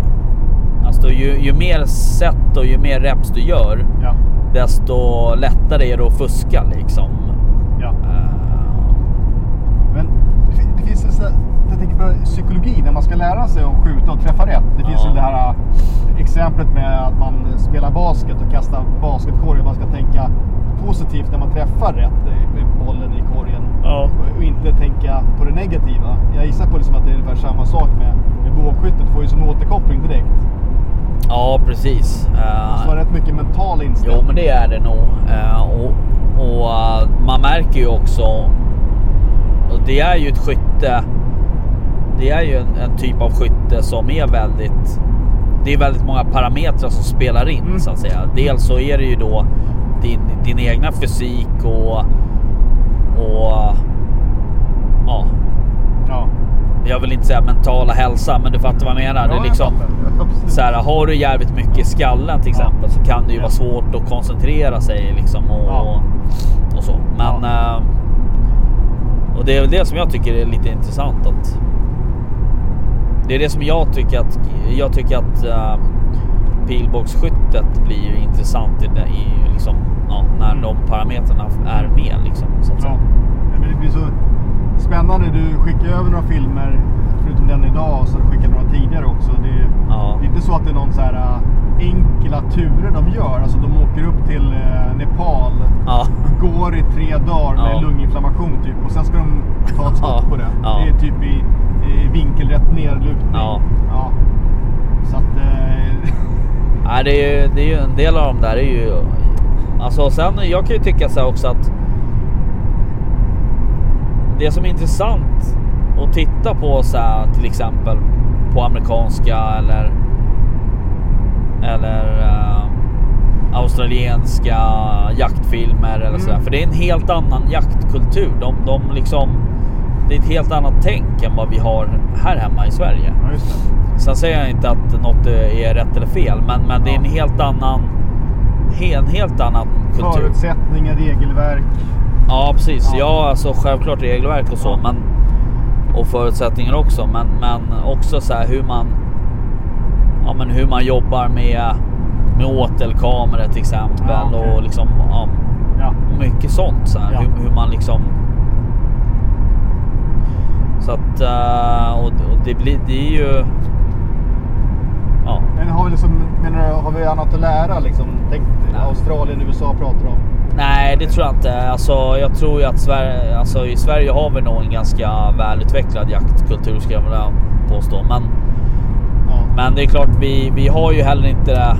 S4: Alltså ju, ju mer set och ju mer reps du gör,
S5: Ja.
S4: desto lättare är det att fuska liksom.
S5: Ja.
S4: Eh,
S5: Men det, fin- det finns en sån här, jag tänker på psykologi när man ska lära sig att skjuta och träffa rätt. Det finns
S4: Ja.
S5: ju det här äh, exemplet med att man spelar basket och kastar basketkorgen. Man ska tänka positivt när man träffar rätt eh, med bollen i korgen
S4: Ja.
S5: och inte tänka på det negativa. Jag gissar på liksom att det är ungefär samma sak med, med bågskyttet. Du får ju som återkoppling direkt.
S4: Ja, precis.
S5: Det
S4: Eh,
S5: måste vara rätt mycket mental inställning.
S4: Jo, men det är det nog. Eh, och och eh, man märker ju också. Och det är ju ett skytte. Det är ju en, en typ av skytte som är väldigt. Det är väldigt många parametrar som spelar in
S5: Mm.
S4: så att säga. Dels så är det ju då din, din egna fysik och. Och. Ja,
S5: Ja.
S4: jag vill inte säga mentala hälsa, men du fattar vad jag menar. Det är liksom. Så här, har du jävligt mycket i skallen till
S5: Ja.
S4: exempel så kan det ju
S5: Ja.
S4: vara svårt att koncentrera sig liksom och,
S5: Ja.
S4: och så. Men... eh, Och det är väl det som jag tycker är lite intressant att... Det är det som jag tycker att... Jag tycker att eh, pilbågsskyttet blir ju intressant i, det- i liksom, ja, när
S5: Mm.
S4: de parametrarna är med liksom. Så att
S5: Ja.
S4: säga.
S5: Men det blir så spännande. Du skickar över några filmer, förutom den idag, och så har du skickat några tidigare också. Det är,
S4: Ja.
S5: det är inte så att det är någon så här äh, enkla turer de gör. Alltså de åker upp till eh, Nepal,
S4: Ja.
S5: går i tre dagar med
S4: Ja.
S5: lunginflammation typ och sen ska de ta ett skott
S4: Ja.
S5: på det.
S4: Ja.
S5: Det är typ i, i vinkelrätt nedlutning.
S4: Ja.
S5: Ja. Så att... eh,
S4: Nej, det är ju, det är ju en del av dem där är ju... Alltså sen, jag kan ju tycka så här också att... Det som är intressant att titta på så här, till exempel på amerikanska eller... Eller... eh, australienska jaktfilmer eller sådär.
S5: Mm.
S4: För det är en helt annan jaktkultur. De, de liksom... Det är ett helt annat tänk än vad vi har här hemma i Sverige.
S5: ja, just det.
S4: Sen säger jag inte att något är rätt eller fel, men, men det är en
S5: Ja.
S4: helt annan he- en helt annan kultur.
S5: Förutsättningar, regelverk.
S4: Ja, precis.
S5: Ja.
S4: Ja, alltså självklart regelverk och så,
S5: Ja.
S4: men och förutsättningar också, men, men också så här hur man. Ja, men hur man jobbar med med åtelkameror till exempel
S5: Ja, okej.
S4: och liksom ja,
S5: Ja.
S4: mycket sånt så här,
S5: Ja.
S4: hur, hur man liksom. Så att eh, och, och det blir det är ju. Ja,
S5: Men har vi, liksom, menar du, har vi annat att lära? Liksom? Tänk,
S4: Nej.
S5: Australien, USA pratar om.
S4: Nej, det tror jag inte. Alltså, jag tror ju att Sverige, alltså, i Sverige har vi nog en ganska välutvecklad jaktkultur. Ska jag vilja påstå. Men
S5: Ja.
S4: men det är klart, vi, vi har ju heller inte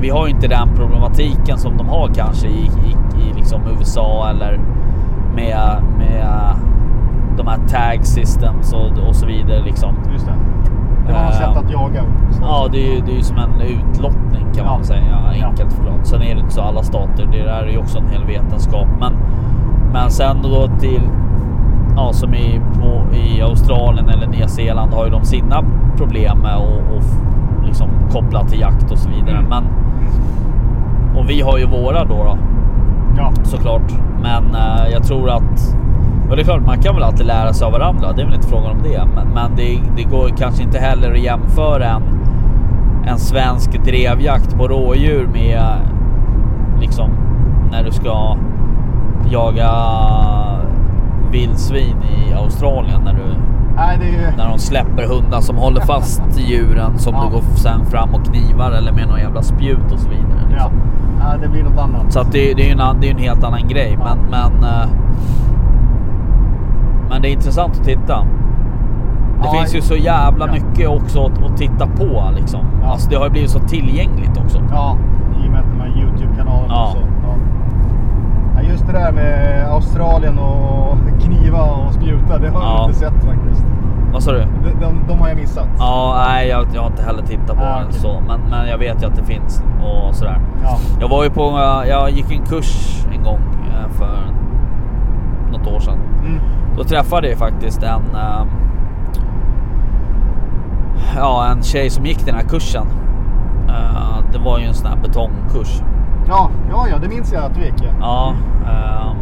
S4: vi har ju inte den problematiken som de har kanske i, i, i liksom USA eller med, med de här tag systems och, och så vidare. Liksom.
S5: Just det. Det var hans
S4: Eh,
S5: sätt att jaga.
S4: Ja, det är ju det är ju som en utlottning kan man
S5: liksom. Ja.
S4: säga,
S5: Ja.
S4: enkelt förklarat. Sen är det inte så alla stater, det där är ju också en hel vetenskap. Men, men sen då till, ja som i, på, i Australien eller Nya Zeeland har ju de sina problem med och, och f- liksom kopplat till jakt och så vidare.
S5: Mm.
S4: Men, och vi har ju våra då, då
S5: Ja.
S4: såklart. Men eh, jag tror att... Och det är klart, man kan väl alltid lära sig av varandra. Det är väl inte frågan om det. Men, men det, det går kanske inte heller att jämföra en, en svensk drevjakt på rådjur med liksom när du ska jaga vildsvin i Australien när, du,
S5: Nej, det är ju...
S4: när de släpper hundar som håller fast djuren som
S5: Ja.
S4: du går sen fram och knivar eller med någon jävla spjut och så vidare. liksom.
S5: Ja. Nej, det blir något annat.
S4: Så att det, det är ju en, an- det är en helt annan grej. Men, men, eh, men det är intressant att titta. Det
S5: Ja,
S4: finns ju så jävla
S5: ja.
S4: mycket också att, att titta på liksom.
S5: Ja.
S4: Alltså, det har ju blivit så tillgängligt också.
S5: Ja, i och med att de här YouTube-kanalerna
S4: Ja.
S5: och så. Ja. Ja, just det där med Australien och kniva och spjuta, det har
S4: Ja.
S5: jag inte sett faktiskt.
S4: Vad sa du?
S5: De, de, de har jag missat.
S4: Ja, nej, jag, jag har inte heller tittat på
S5: Ah,
S4: den
S5: okej.
S4: så. Men, men jag vet ju att det finns och sådär.
S5: Ja.
S4: Jag var ju på, eh, jag gick en kurs en gång eh, för något år sedan.
S5: Mm.
S4: Då träffade jag faktiskt en ehm, Ja, en tjej som gick den här kursen. Eh, det var ju en sån här betongkurs.
S5: Ja, ja, ja, det minns jag att du gick. Ja.
S4: Ja, ehm,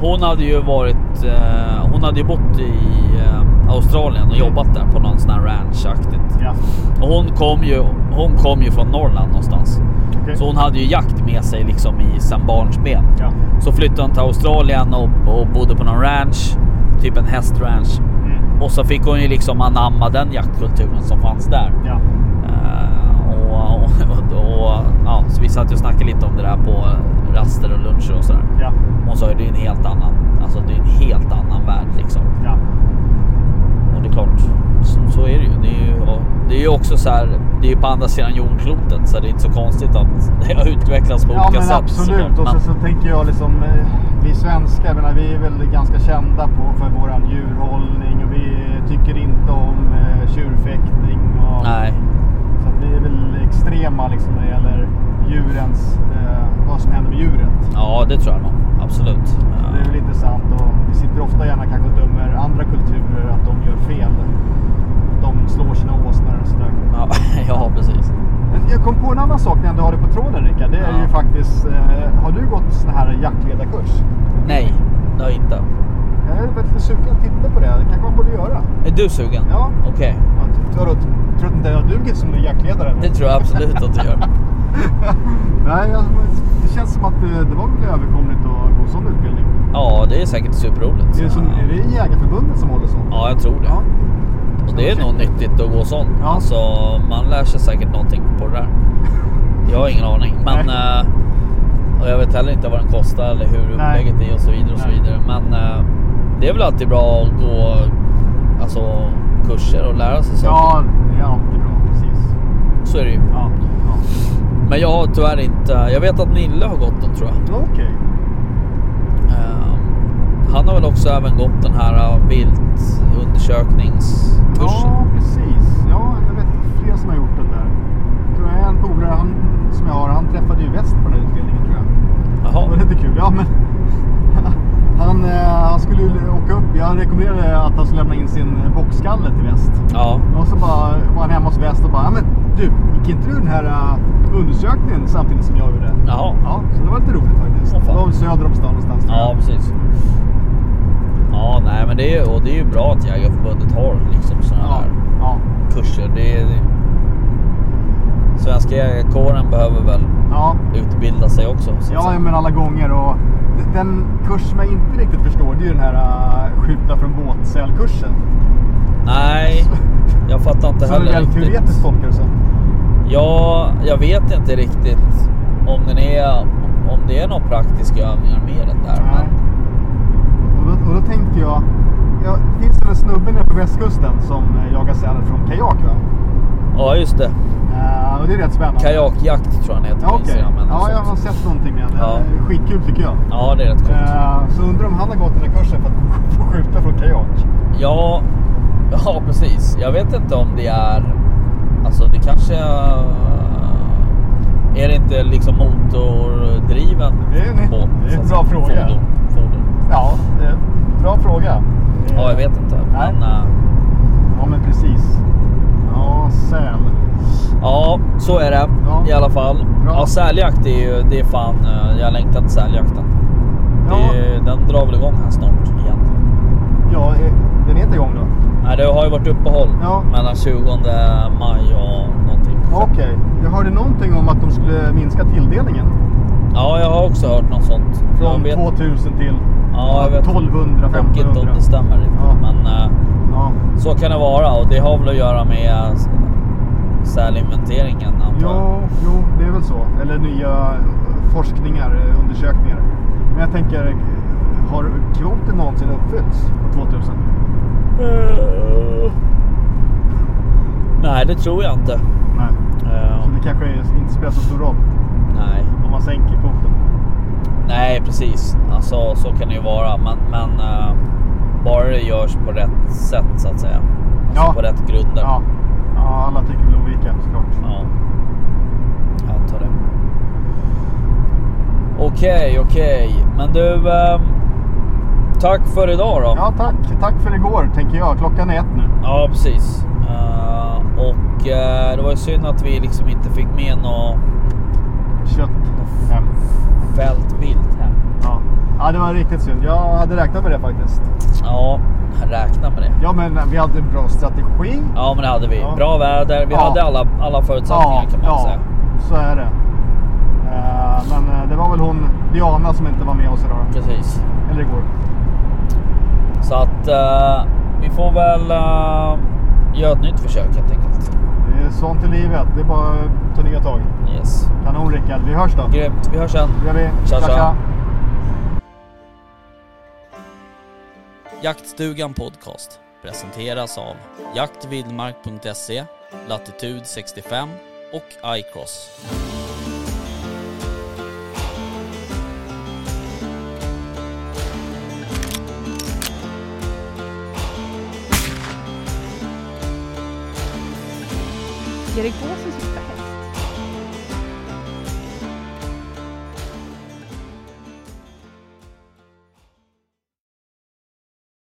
S4: hon hade ju varit... eh, hon hade ju bott i eh, Australien och jobbat där på någon sån här ranch-aktigt.
S5: Ja.
S4: Och hon kom ju, hon kom ju från Norrland någonstans.
S5: Okej.
S4: Så hon hade ju jakt med sig liksom i sedan barnsben.
S5: Ja.
S4: Så flyttade hon till Australien och, och bodde på någon ranch. Typ en hästranch.
S5: Mm.
S4: Och så fick hon ju liksom anamma den jaktkulturen som fanns där.
S5: Ja.
S4: Eh, och, och, och, och ja, så vi satt ju och snackade lite om det där på raster och luncher och sådär.
S5: Ja.
S4: Hon sa ju det är en helt annan, alltså det är en helt annan värld liksom.
S5: Ja.
S4: Och det är klart, så, så är det ju. Det är ju, och, det är ju också så här, det är ju på andra sidan jordklotet så det är inte så konstigt att det har utvecklats på
S5: Ja
S4: olika
S5: men
S4: sätt.
S5: absolut.
S4: såklart.
S5: Och
S4: Men-
S5: sen så tänker jag liksom, eh, vi svenskar, jag menar, vi är väl ganska kända på, för våran djurhållning och vi tycker inte om eh, tjurfäktning. Och,
S4: Nej,
S5: Så att vi är väl extrema liksom, när det gäller djurens, eh, vad som händer med djuret.
S4: ja det tror jag nog. Absolut. Ja.
S5: Det är väl intressant och vi sitter ofta gärna kanske och dömer andra kulturer att de gör fel. Att de slår sina åsnor och sådär.
S4: Ja, ja precis.
S5: Men Jag kom på en annan sak när jag ändå har det på tråden Rickard. Det är
S4: Ja.
S5: ju faktiskt, eh, har du gått sån här jaktledarkurs?
S4: Nej, det har jag inte.
S5: Jag är väldigt sugen att titta på det. Det kanske man borde göra.
S4: Är du sugen?
S5: Ja.
S4: Okej,
S5: Ja, du, vadå, tror du inte jag dugit som jaktledare?
S4: det tror jag absolut att du gör.
S5: Nej, jag, det känns som att eh, det, det var väl överkomligt att gå en sån utbildning.
S4: Ja, det är säkert superroligt.
S5: Är det, som, är det Jägarförbundet som håller så?
S4: Ja, jag tror det.
S5: Ja.
S4: Och det är nog nyttigt att gå sån.
S5: Ja.
S4: Alltså, man lär sig säkert någonting på det där. Jag har ingen aning, men... eh, Och jag vet heller inte vad den kostar eller hur
S5: Nej.
S4: upplägget är och så vidare och så
S5: Nej.
S4: vidare. Men eh, det är väl alltid bra att gå alltså, kurser och lära sig saker.
S5: Ja, det är alltid bra. Precis.
S4: Så är det ju.
S5: Ja. ja.
S4: Men jag har tyvärr inte... Jag vet att Nille har gått den tror jag.
S5: Okej.
S4: Ehm, Han har väl också även gått den här eh, viltundersökningskursen.
S5: Ja, precis. Ja, jag vet flera som har gjort den där. Jag tror jag en polare han, som jag har, han träffade ju väst på den här utbildningen tror jag. Det var
S4: Jaha.
S5: lite kul. Ja, men han, eh, han skulle ju åka upp. Jag rekommenderade att han skulle lämna in sin boxskalle till väst.
S4: Ja.
S5: Och så bara var han hemma hos väst och bara, ja men du, gick inte du den här eh, undersökningen samtidigt som jag gjorde?
S4: Jaha.
S5: Ja, så det var lite roligt faktiskt.
S4: Åh, fan.
S5: det var väl söder om stan någonstans. tror jag.
S4: Ja, precis. Ja, nej, men det är, och det är ju bra att Jägarförbundet har liksom sådana
S5: Ja,
S4: här
S5: ja,
S4: kurser. Det är, svenska jägarkåren behöver väl
S5: ja.
S4: utbilda sig också. Så att
S5: Ja,
S4: säga.
S5: men alla gånger. Och d- den kurs som jag inte riktigt förstår, det är ju den här eh, skjuta från båtsälkursen.
S4: Nej, jag fattar inte
S5: Som du
S4: heller
S5: väl
S4: riktigt.
S5: teoretiskt tolkar det som.
S4: Ja, jag vet inte riktigt om, den är, om det är några praktiska övningar med det där.
S5: Nej.
S4: Men,
S5: Och då, och då tänkte jag, ja, det finns en snubbe nere på västkusten som eh, jagar säl från kajak va?
S4: Ja, just det.
S5: Eh, och det är rätt spännande.
S4: Kajakjakt tror jag den heter
S5: Ja,
S4: på
S5: okej.
S4: Instagram. eller något
S5: Ja, jag har
S4: sånt.
S5: sett någonting med den.
S4: Ja.
S5: Eh, Skitkul tycker jag.
S4: ja, det är rätt coolt.
S5: Eh, så undrar om han har gått den här kursen för att få skjuta från kajak.
S4: Ja, ja precis. Jag vet inte om det är... Alltså det kanske... eh, Är det inte liksom motordriven
S5: Det är en-
S4: båt?
S5: det är en
S4: så att
S5: bra
S4: säga?
S5: fråga.
S4: alltså, Fordon, fordon.
S5: Ja, eh, bra fråga. Eh,
S4: Ja, jag vet inte.
S5: Nej.
S4: Men, eh,
S5: Ja, men precis. Ja, säl.
S4: ja, så är det
S5: Ja.
S4: i alla fall.
S5: Bra.
S4: Ja, säljakt är ju... Det är fan... eh, Jag längtar till säljakten.
S5: Ja,
S4: Det, den drar väl igång här snart igen.
S5: ja eh, den är inte igång då?
S4: Nej, det har ju varit uppehåll
S5: Ja.
S4: mellan 20 maj och någonting.
S5: Okej. Jag hörde någonting om att de skulle minska tilldelningen.
S4: Ja, jag har också hört något sånt. Jag
S5: Från
S4: vet-
S5: 2000 till
S4: Ja, jag vet.
S5: 1200,
S4: Och inte om
S5: 1500.
S4: det stämmer riktigt.
S5: Ja.
S4: Men eh,
S5: Ja,
S4: så kan det vara och det har väl att göra med eh, sälinventeringen antar jag.
S5: jo, jo, det är väl så. Eller nya eh, forskningar, eh, undersökningar. Men jag tänker, eh, har kvoten någonsin uppfyllts på 2000?
S4: Eh. Nej, det tror jag inte.
S5: Nej.
S4: Eh,
S5: Så det kanske är- inte spelar så stor roll
S4: nej.
S5: om man sänker kvoten.
S4: nej, precis. Alltså så kan det ju vara. Men, men eh, bara det görs på rätt sätt så att säga. Alltså
S5: Ja.
S4: på rätt grunder.
S5: Ja. ja, alla tycker väl olika såklart.
S4: Ja. Jag antar det. Okej, okej. Men du, ehm, tack för idag då.
S5: Ja, tack. Tack för igår tänker jag. Klockan är ett nu.
S4: Ja, precis. Eh, och eh, det var ju synd att vi liksom inte fick med något
S5: Kött. Hem.
S4: fältvilt hem.
S5: Ja. ja, det var riktigt synd. Jag hade räknat med det faktiskt.
S4: Ja, räkna med det.
S5: Ja, men vi hade en bra strategi.
S4: Ja, men det hade vi.
S5: Ja.
S4: Bra väder. Vi
S5: Ja.
S4: hade alla, alla förutsättningar kan man
S5: ja
S4: säga.
S5: så är det. Eh, Men eh, det var väl hon Diana som inte var med oss idag. då.
S4: Precis.
S5: Eller igår.
S4: Så att eh, vi får väl eh, göra ett nytt försök helt enkelt.
S5: Det är sånt i livet. Det är bara att ta nya tag.
S4: Yes.
S5: Kanon Rickard. Vi hörs då.
S4: Grymt. Vi hörs sen.
S5: Det gör vi.
S4: Tja, tja.
S3: Jaktstugan Podcast presenteras av jaktvildmark.se, Latitude 65 och iCross.
S2: Erik Båsen sitter här.